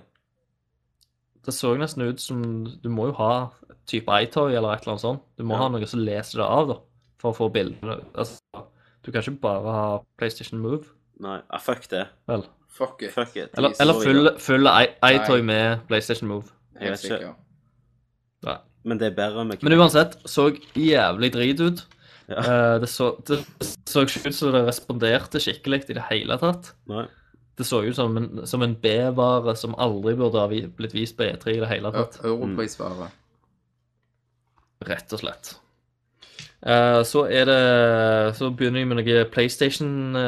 Det så nesten ut som Du må jo ha et type iToy eller et eller annet sånt. Du må
Ja.
ha noe som leser det av, da, for å få bildene. Altså, du kan ikke bare ha PlayStation Move,
Nei, ah, fuck det.
vel?
Fuck it.
Fuck it.
Eller,
Please,
eller
sorry,
full, full i-
Nei.
iToy med PlayStation Move.
Jeg
Helt
vet ikke.
sikker.
Nei.
Men det er bedre med
Men uansett så jævlig drit ut.
Ja.
Eh, det, så, det så ikke ut som det responderte skikkelig i det hele tatt.
Nei.
Det så ut som en, som en B-vare som aldri burde ha vi- blitt vist på E3 i det hele
Ø-
tatt.
Europrisvaret.
Rett og slett. Eh, så er det Så begynner jeg med noe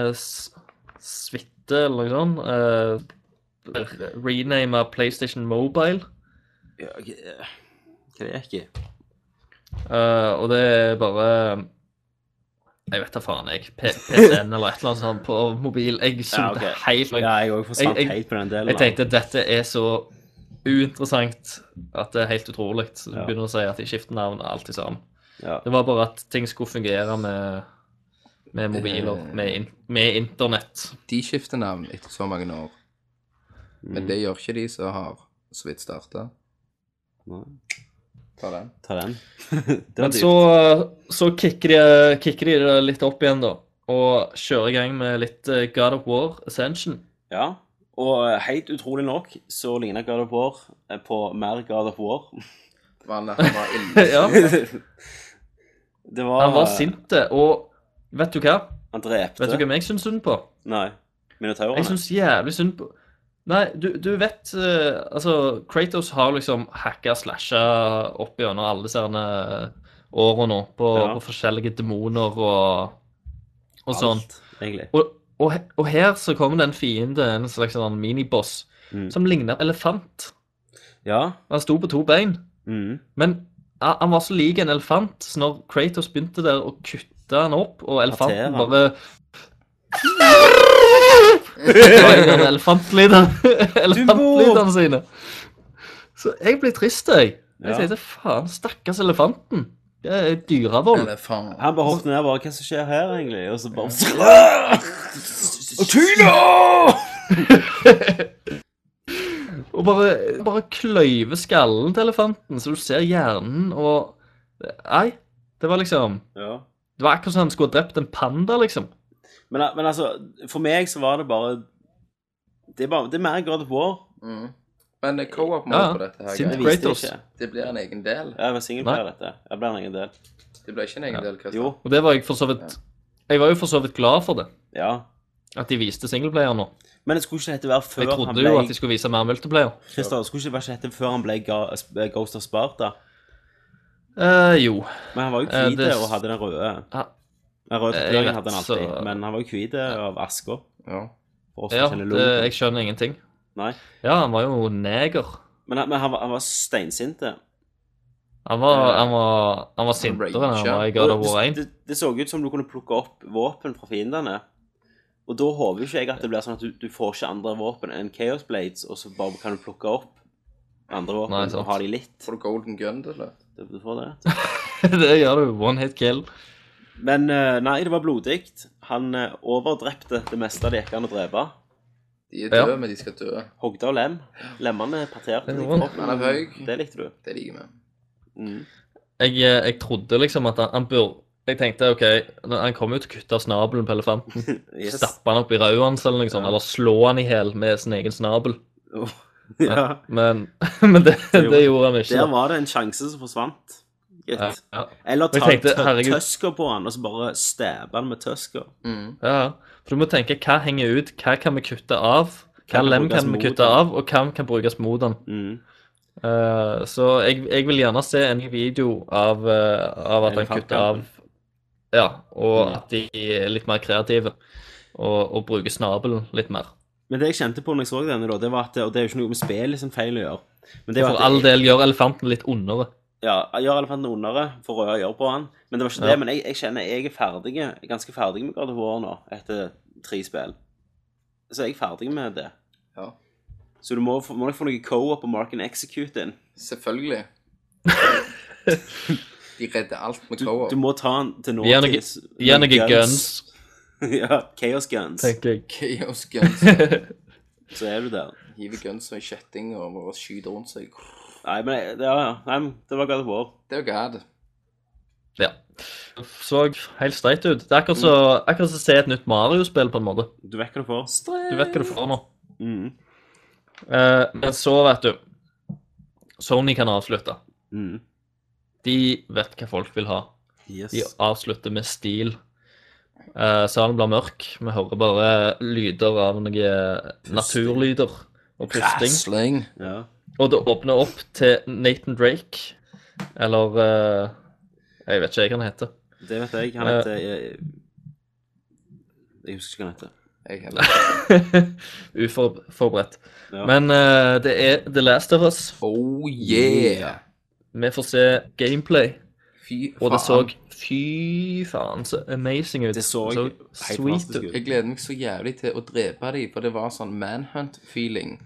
PlayStation-suite eller noe sånt. Uh, Rename PlayStation Mobile.
Ja, ok, eh, Hva det gikk i?
Eh, og det er bare Jeg vet da faen, jeg. P- PCN eller et eller annet sånt på mobil. Jeg solgte
ok.
helt
Ja, jeg òg forsvant
Jeg- jeg-
helt på den delen.
Jeg tenkte dette er så uinteressant at det er helt utrolig. Så du
Ja.
begynner å si at de skifter navn og alt i sammen.
Ja.
Det var bare at ting skulle fungere med, med mobiler,
Eh.
med, in med internett.
De skifter navn etter så mange år.
Mm.
Men det gjør ikke de som har så vidt starta.
Nei.
Ta den.
Ta den. det var
Men
dyrt.
så, så kicker, de, kicker de det litt opp igjen, da. Og kjører i gang med litt eh, God of War Ascension.
Ja. Og eh, helt utrolig nok så ligner God of War eh, på mer God of War.
Vannet, han var ille.
ja.
det var
Han var sint, eh, og vet du hva?
Han drepte.
Vet du hvem jeg syns synd på?
Nei. Minotaurene.
Jeg syns jævlig synd på Nei, du, du vet eh, Altså, Kratos har liksom hacka slasha opp gjennom alle disse herne åra nå på,
Ja.
på forskjellige demoner og, og sånn.
Alt, egentlig.
Og, og, he- og her så kommer det en fiende, en slags sånn miniboss,
Mm.
som ligner elefant.
Ja.
Han sto på to bein.
Mm.
Men ja, han var så lik en elefant, så når Kratos begynte der å kutte han opp, og elefanten
Partere.
bare Det var en av elefantlydene elefantlydene sine. Så jeg ble trist, jeg. Jeg
Ja.
tenkte faen, stakkars elefanten. Det er dyrevold.
Eller faen.
Han bare hoppet ned og bare Hva som skjer her, egentlig? Og så bare Tylo!
Og bare, bare kløyve skallen til elefanten, så du ser hjernen og Nei, det var liksom
Ja.
Det var akkurat som han skulle ha drept en panda, liksom.
Men, eh, men altså, for meg så var det bare Det er, bare, det er mer God of War,
Mm. Men eh, co-op-mode
Ja, ja.
på dette her,
Sint
Det
guys,
viste de
Kratos.
ikke.
det blir en egen del.
Ja, men singleplayer, dette. Det blir en egen del.
Det blir ikke en egen del, Kristian.
Jo,
Og det var jeg for så vidt Jeg var jo for så vidt glad for det.
ja.
At de viste singleplayer nå.
Men det skulle ikke hete være før
Jeg
han
trodde
ble
jo at de skulle vise mer multiplayer.
Christer, det skulle ikke være hete før han ble Ga- eh, Ghost of Sparta.
Eh, jo.
Men han var jo
Eh,
hvit
det-
og hadde den røde.
Ja.
Den røde
Eh, jeg
tatueringen
vet,
hadde han alltid,
så-
men han var jo hvit av aska.
Ja.
For oss
Ja,
som kjenner
det,
logoen.
jeg skjønner ingenting.
Nei.
Ja, han var jo neger.
Men, han- men han, var- han var steinsinte.
Han var, han var, han var sintere enn han
Ranger.
var i God of
Og
War
Det,
1.
det, det så ut som du kunne plukke opp våpen fra fiendene. Og da håper jo ikke jeg at det blir sånn at du, du får ikke andre våpen enn Chaos Blades, og så bare kan du plukke opp andre våpen
Nei, sant.
og ha de litt.
Får du golden gun til slutt?
Du, du får det.
det gjør du. One hit kill.
Men eh, nei, det var blodig. Han eh, overdrepte det meste det gikk an å drepe.
De er
Ja.
døde, men de skal dø.
Hogde og lem. Lemmene parterte. i
Det gjorde han.
kroppen.
Han er høy.
Det likte du.
Det liker vi.
Mm.
Jeg, eh, jeg trodde liksom at han, han burde Jeg tenkte OK, han kommer jo til å kutte av snabelen på elefanten.
Yes.
Stappe han opp i røya hans eller noe sånt, eller slå han i hjel med sin egen snabel.
ja.
Men, men det,
Det
det gjorde han ikke.
Der var det en sjanse som forsvant. Gitt.
Ja, ja.
Eller
Og jeg
ta
tenkte,
tø-
herregud.
tøsker på han, og så bare stabbe han med tøsker.
Mm.
Ja, ja. for du må tenke hva henger ut, hva kan vi kutte av, hva
kan
lem
brukes
kan vi
mot
kutte
han?
av, og hva kan brukes mot den.
Mm.
Eh, så jeg, jeg vil gjerne se en video av, eh, av at han kutter av.
Elefantkampen.
Ja, og
Mm.
at de er litt mer kreative, og, og bruker snabelen litt mer.
Men det jeg kjente på når jeg så denne, da, det var at, og det er jo ikke noe med spillet sin feil å gjøre men det var
For
at
all del gjør elefanten litt ondere.
Ja, Gjør elefanten ondere, for røde gjør på han. Men det var ikke
Ja.
det. Men jeg, jeg kjenner jeg er ferdig, ganske ferdig med God of War nå, etter tre spill. Så jeg er ferdig med det.
Ja.
Så du må, få- må nok få noe co-op og Mark and Execute inn.
Selvfølgelig. De redder alt med
Du,
co-op.
du må ta han til
Gi han noe-
nåtids.
Gi han noen guns,
ja, Chaos guns.
tenker jeg.
Chaos guns.
Så er du der.
Hiver guns og kjetting og bare skyter rundt seg.
Nei, men jeg- ja, ja. Nei, men det var God of War.
Det er jo gad.
Ja. Så helt streit ut. Det er
Mm.
akkurat så, akkurat som å se et nytt Mario-spill, på en måte.
Du vet hva du får.
Du vet hva du får nå.
Mm.
Eh, men så, vet du Sony kan avslutte.
Mm.
De vet hva folk vil ha.
Yes.
De avslutter med stil. Eh, salen blir mørk. Vi hører bare lyder av noen eh, naturlyder og pusting.
Sling.
Ja.
Og det åpner opp til Nathan Drake, eller eh, Jeg vet ikke hva han heter.
Det vet jeg. Han
Eh.
heter Jeg, jeg husker ikke hva han heter.
Jeg heller.
Uforberedt.
Ja.
Men eh, det er The Last of Us.
Oh yeah.
Vi får se gameplay.
Fy faen.
Og det så fy faen så amazing ut.
Det så helt
sweet
fantastisk
ut.
ut.
Jeg gleder meg så jævlig til å drepe dem, for det var sånn manhunt-feeling.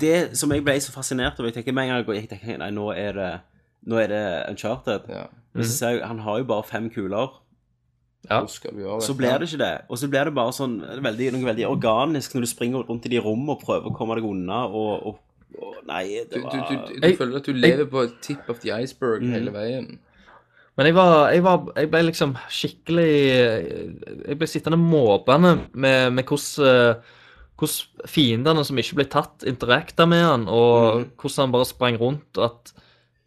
Det som jeg ble så fascinert over Jeg tenker med en gang jeg går- jeg tenker, Nei, nå er det Nå er det Uncharted.
Ja.
Mhm.
Men så ser jeg han har jo bare fem kuler.
Ja.
Hvordan skal du gjøre det?
Så blir det ikke det. Og så blir det bare sånn veldig, noe veldig organisk når du springer rundt i de rommene og prøver å komme deg unna og, og, og Nei,
Du,
det
du, du,
var
du
Jeg- Mm.
føler at du lever på tip of the iceberg hele veien.
Men jeg var, jeg var Jeg ble liksom skikkelig Jeg ble sittende måpende med, med hvordan eh, hvordan fiendene som ikke ble tatt, interakta med han, og
Mm.
hvordan han bare sprang rundt. og At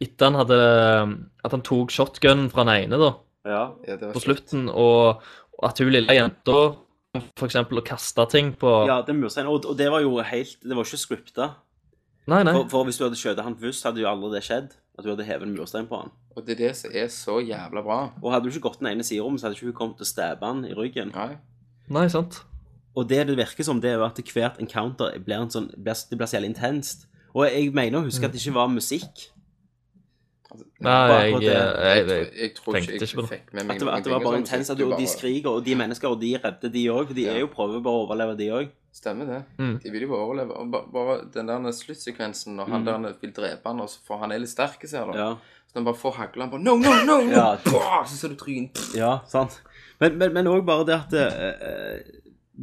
etter han hadde At han tok shotgunen fra den ene, da,
Ja.
Ja, det var
på slutten, og og at hun lille jenta for eksempel å kaste ting på
ja, det er murstein. Og, og det var jo helt Det var ikke scripta.
Nei, nei.
For, for hvis du hadde skjøtet han først, hadde jo aldri det skjedd. At du hadde hevet en murstein på han.
Og det er det som er så jævla bra.
Og hadde du ikke gått den ene siderommet, så hadde ikke hun kommet til å stabbe han i ryggen.
Nei.
Nei, sant?
Og det det virker som, det er jo at hvert encounter blir en sånn, blir, det blir så jævlig intenst. Og jeg mener å huske at det ikke var musikk.
Altså,
Nei, jeg, eh,
akkurat det.
jeg, jeg,
Jeg tror
tenkte
ikke jeg
ikke på det.
fikk med meg
At det, var- at det var bare
noen ting og sånn,
intenst. At
du
du, og de
bare-
skriker, og de mennesker, og de redder de òg. For de er jo prøver bare å overleve, de òg.
Stemmer det.
Mm.
De vil jo bare overleve. Og ba- bare den der sluttsekvensen når han der vil drepe han, og så får han er litt sterk, ser du.
Mm. Ja.
Så han bare får hagle han bare No, no, no! no.
Ja.
Bra! Så ser du trynet.
ja, sant. Men- Men òg bare det at eh,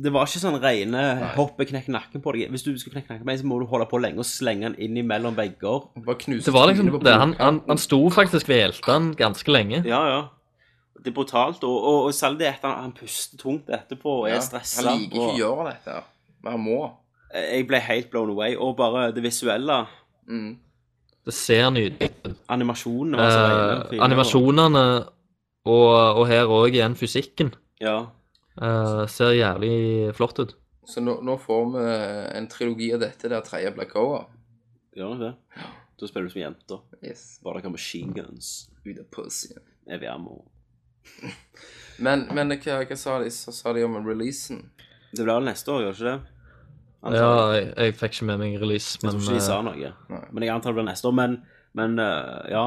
det var ikke sånn rene hoppe, knekke nakken på deg. Hvis du skal knekke nakken på en, så må du holde på lenge og slenge den inn imellom vegger.
Bare knuser
Det var liksom
trynet på
det. Han,
bordet.
han, han sto faktisk ved hjelten ganske lenge.
Ja, ja. Det er brutalt. Og, og, og selv det etter han, han puster tungt etterpå og
Ja,
er stressa.
Han liker ikke å
og-
gjøre dette, men han må.
Jeg ble helt blown away. Og bare det visuelle
Mm.
Det ser nydelig ut.
Animasjonene var så rene og
Eh,
fine.
animasjonene og, og her òg igjen fysikken
Ja.
eh, ser jævlig flott ut.
Så nå, nå får vi eh, en trilogi av dette der tredje blir coa.
Gjør nok det. Da spiller du som jenter.
Yes.
Bare dere har machine guns.
Ut av pussyen.
Eviamo.
Men, men hva, hva sa de Så sa de om releasen?
Det blir vel neste år, gjør ikke det? Antar
Ja,
jeg.
jeg, jeg fikk ikke med meg release,
jeg
men
tror ikke de sa
eh,
noe.
Nei.
Men jeg antar det blir neste år. Men, men eh, ja.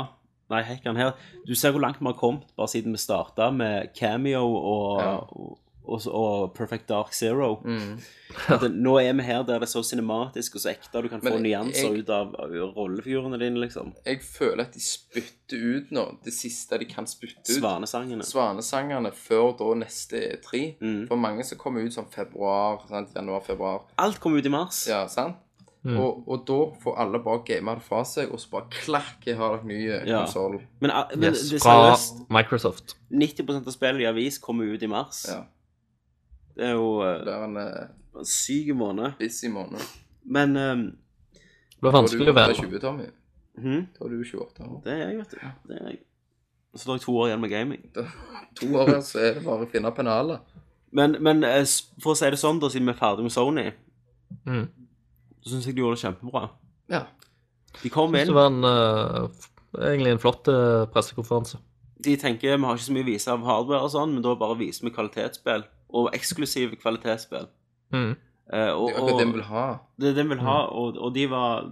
Nei, hekken her. Du ser hvor langt vi har kommet bare siden vi starta med Cameo og,
Ja.
og, og, og Perfect Dark Zero.
Mm.
At det- nå er vi her der det er så cinematisk og så ekte, og du kan
Men
få nyanser
jeg-
ut av, av rollefigurene dine, liksom.
Jeg føler at de spytter ut nå det siste de kan spytte ut.
Svanesangene.
Svanesangerne før da neste E3.
Mm.
For mange som kommer ut sånn februar, sant? januar-februar.
Alt kom ut i mars.
Ja, sant?
Mm.
Og, og da får alle bare game det fra seg, og så bare klakk, jeg har dere ny eh,
Ja.
konsoll.
Men, a- men
yes,
det er
fra
seriøst.
Microsoft.
90 av spillene i avis kommer ut i mars.
Ja.
Det er jo
Det
eh,
blir en eh,
en syk måned.
busy måned.
Men ehm,
Det blir vanskelig å
Da er
være
du 20, Tommy.
hm,
Da er du 28 år.
det er jeg, vet du. Det er jeg. Så det er jeg to år igjen med gaming.
To år her, så er det bare å finne pennaler.
Men, men eh, s- for å si det sånn, da, siden vi er ferdig med Sony,
mm.
så syns jeg de gjorde det kjempebra.
Ja.
De kom
Synes
inn.
Det var en, eh, f- egentlig en flott eh, pressekonferanse.
De tenker vi har ikke så mye å vise av hardware og sånn, men da bare viser vi kvalitetsspill. Og eksklusive kvalitetsspill.
Mm.
Eh,
Det
og,
er jo akkurat det vi
og
vil ha.
det er det vi vil ha, og, og de var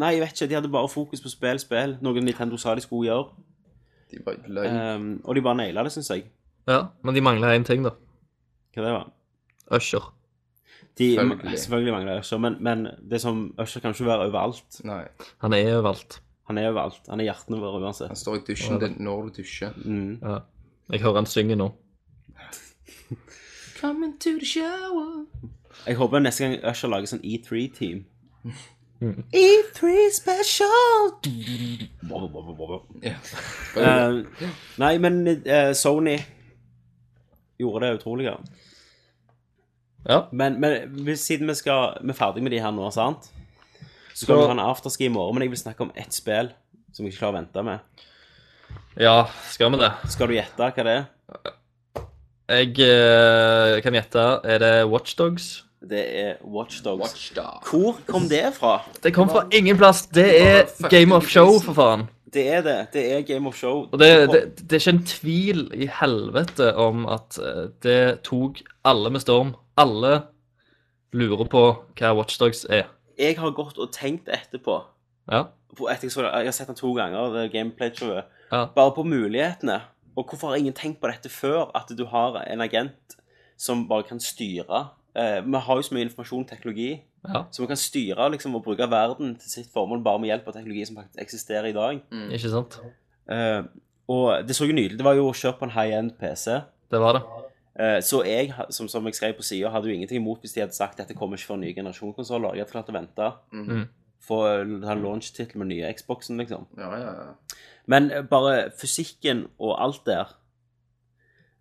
Nei, jeg vet ikke. De hadde bare fokus på spill, spill. Noe Nintendo sa de skulle gjøre.
De bare løy.
Ehm, og de bare naila det, syns jeg.
Ja, men de mangler én ting, da.
Hva det var.
Usher.
De,
Selvfølgelig.
selvfølgelig. mangler Usher, men, men det som Usher kan ikke være overalt.
Nei.
Han er overalt.
Han er overalt. Han er hjertene våre
Han
uansett.
står i dusjen din når du dusjer.
Mm.
Ja. Jeg hører han synge nå.
Come into the shower.
Jeg håper neste gang Usher lager sånn E3-team.
Mm.
E3 special! Blah, blah, blah, blah.
Ja.
Eh, nei, men eh, Sony gjorde det utrolige.
Ja.
Men, men hvis- siden vi, skal, vi er ferdig med de her nå, sant? Så skal
Så-
vi ha en afterski i morgen, men jeg vil snakke om ett spill som jeg ikke klarer å vente med.
ja, skal vi det?
Skal du gjette hva det er?
Jeg eh, kan gjette. Er det Watchdogs?
Det er Watchdogs.
Watchdog.
Hvor kom det fra?
Det kom fra ingen plass. Det
Bare
er
fucking
Game of Show,
prisen.
for faen.
Det er det. Det er Game of Show.
Og det, det, det er ikke en tvil i helvete om at eh, det tok alle med storm. Alle lurer på hva Watchdogs er.
Jeg har gått og tenkt etterpå.
Ja.
På etter jeg, så, det- jeg har sett den to ganger, det gameplay-showet.
Ja.
Bare på mulighetene. Og hvorfor har ingen tenkt på dette før? At du har en agent som bare kan styre. Eh, vi har jo så mye informasjon og teknologi,
Ja.
så vi kan styre liksom, og bruke verden til sitt formål bare med hjelp av teknologi som faktisk eksisterer i dag.
Ikke sant?
Eh, og det så jo nydelig Det var jo å kjøre på en high-end PC.
Det var det.
Eh, Så jeg, ha- som, som jeg skrev på sida, hadde jo ingenting imot hvis de hadde sagt dette kommer ikke for nye generasjonskonsoller. Jeg hadde klart å vente.
Mm.
Få ha launch-tittel med nye Xboxen, liksom.
Ja, ja, ja.
Men eh, bare fysikken og alt der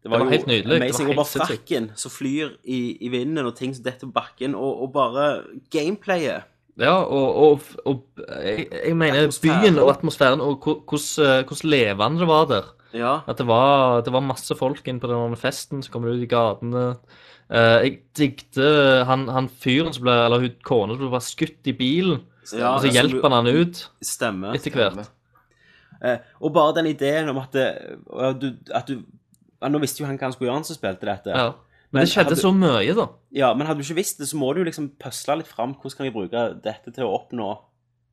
Det
var helt nydelig. Det var
amazing.
helt
Og bare
sinnssykt.
frakken som flyr i, i vinden, og ting som detter på bakken, og, og bare gameplayet.
Ja, og, og, og jeg, jeg mener
Atmosfæren.
byen og atmosfæren og hvor- hvordan eh, hvordan levende det var der.
Ja.
At det var, det var masse folk inne på den festen som kom ut i gatene. Eh, jeg digte han, han fyren som ble, eller hun kona som ble bare skutt i bilen.
ja
og så
som
hjelper han han ut
du- Stemmer.
etter hvert.
Eh, og bare den ideen om at, det, at du, at du ja, Nå visste jo han hva han skulle gjøre, han som spilte dette.
Ja. Men
Men
det skjedde
hadde-
så mye, da.
Ja, men hadde du ikke visst det, så må du jo liksom pøsle litt fram hvordan kan jeg bruke dette til å oppnå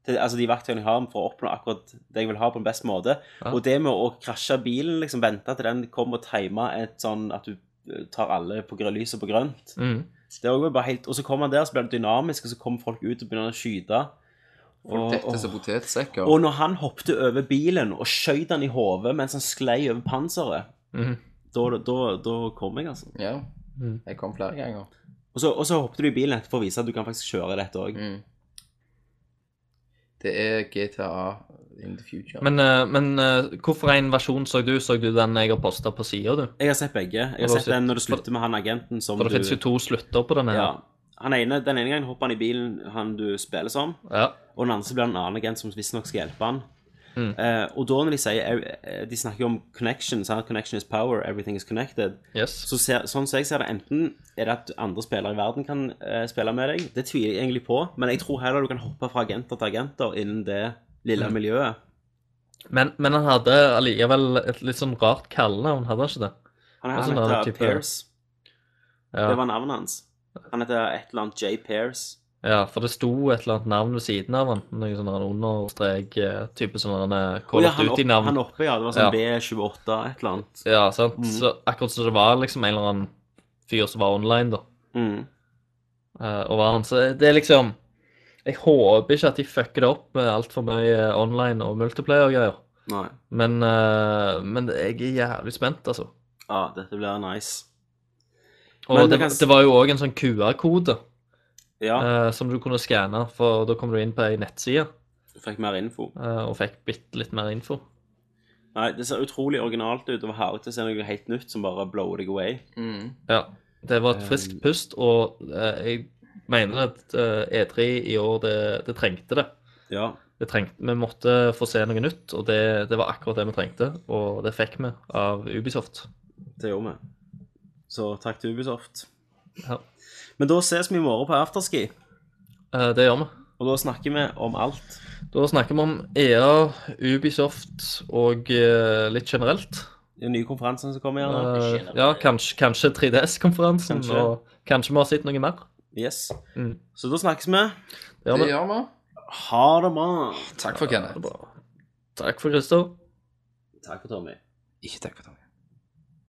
til, Altså de verktøyene jeg har for å oppnå akkurat det jeg vil ha på en best måte.
Ja.
Og det med å krasje bilen, liksom vente til den kommer og time et sånn at du eh, tar alle på grønt lys og på grønt.
Mm.
Det er jo bare helt, Og så kommer han der, så blir det dynamisk, og så kommer folk ut og begynner å skyte. Og,
Dette er så
og,
potetsekker.
og når han hoppte over bilen og skjøt han i hodet mens han sklei over panseret,
Mhm.
da, da, da kom jeg, altså.
Ja.
Mm.
Jeg kom flere ganger.
Og så, og så hoppet du i bilen etterpå for å vise at du kan faktisk kjøre dette òg.
Mm. Det er GTA in the future.
Men, eh, men eh, hvorfor en versjon så du? Så du den jeg har posta på sida, du?
Jeg har sett begge. Jeg
Og
har
da
sett den
sitter-
når det slutter med han agenten som
For det
du
fins jo to slutter på denne.
ja,
her.
han ene, den ene gangen hopper han i bilen han du spiller som,
Ja.
og den andre så blir det en annen agent som visstnok skal hjelpe han.
Mm.
Eh, og da når de sier eh, De snakker jo om connection. Sant? Connection is power. Everything is connected.
Yes.
Så ser, sånn som jeg ser det, enten er det at andre spillere i verden kan eh, spille med deg. Det tviler jeg egentlig på, men jeg tror heller du kan hoppe fra agenter til agenter innen det lille
Mm.
miljøet.
Men, men han hadde allikevel et litt sånn rart kallenavn, hadde han ikke det?
Han,
Altså,
han
nå er det
heter
type-
Pears.
Ja.
Det var navnet hans. Han heter et eller annet J. Pears.
Ja, for det sto et eller annet navn ved siden av han. Noe sånn her understrek, eh, type sånn her, eh, Call
Å ja,
of
han, opp, Mhm.
Duty-navn.
han oppe, ja. Det var sånn B28, et eller annet.
Ja, sant. Så akkurat som det var liksom en eller annen fyr som var online, da.
Mm.
eh, Og var han. Så det er liksom Jeg håper ikke at de fucker det opp med altfor mye eh, online og multiplayer-greier.
Nei.
Men, eh, men jeg er jævlig spent, altså.
Ja, Ah, dette blir nice.
Og
Men det
det,
kan-
det var jo òg en sånn QR-kode
Ja,
eh, som du kunne skanne, for da kom du inn på ei nettside
du fikk mer info.
eh, og fikk bitte litt mer info.
Nei, det ser utrolig originalt ut. Det var herlig å se noe helt nytt som bare blower deg away.
Mm.
Ja, det var
Eh,
et friskt pust, og eh, jeg mener at eh, E3 i år, det, det trengte det.
Ja.
det trengte, vi måtte få se noe nytt, og det, det var akkurat det vi trengte. Og det fikk vi av Ubisoft.
Det gjorde vi. Så takk til Ubisoft.
Ja.
Men da ses vi i morgen på afterski,
Eh, Det gjør vi.
og da snakker vi om alt.
Da snakker vi om EA, Ubisoft og eh, litt generelt.
Den nye konferansen som kommer gjerne.
Eh, ja, kanskje, kanskje 3DS-konferansen,
Kanskje.
og kanskje vi har sett noe mer.
Yes.
Mm.
Så da snakkes vi.
Det gjør
Det
vi.
gjør vi.
Ha det bra.
Takk for Kenneth.
Takk for Christer.
Takk for Tommy.
Ikke takk for Tommy.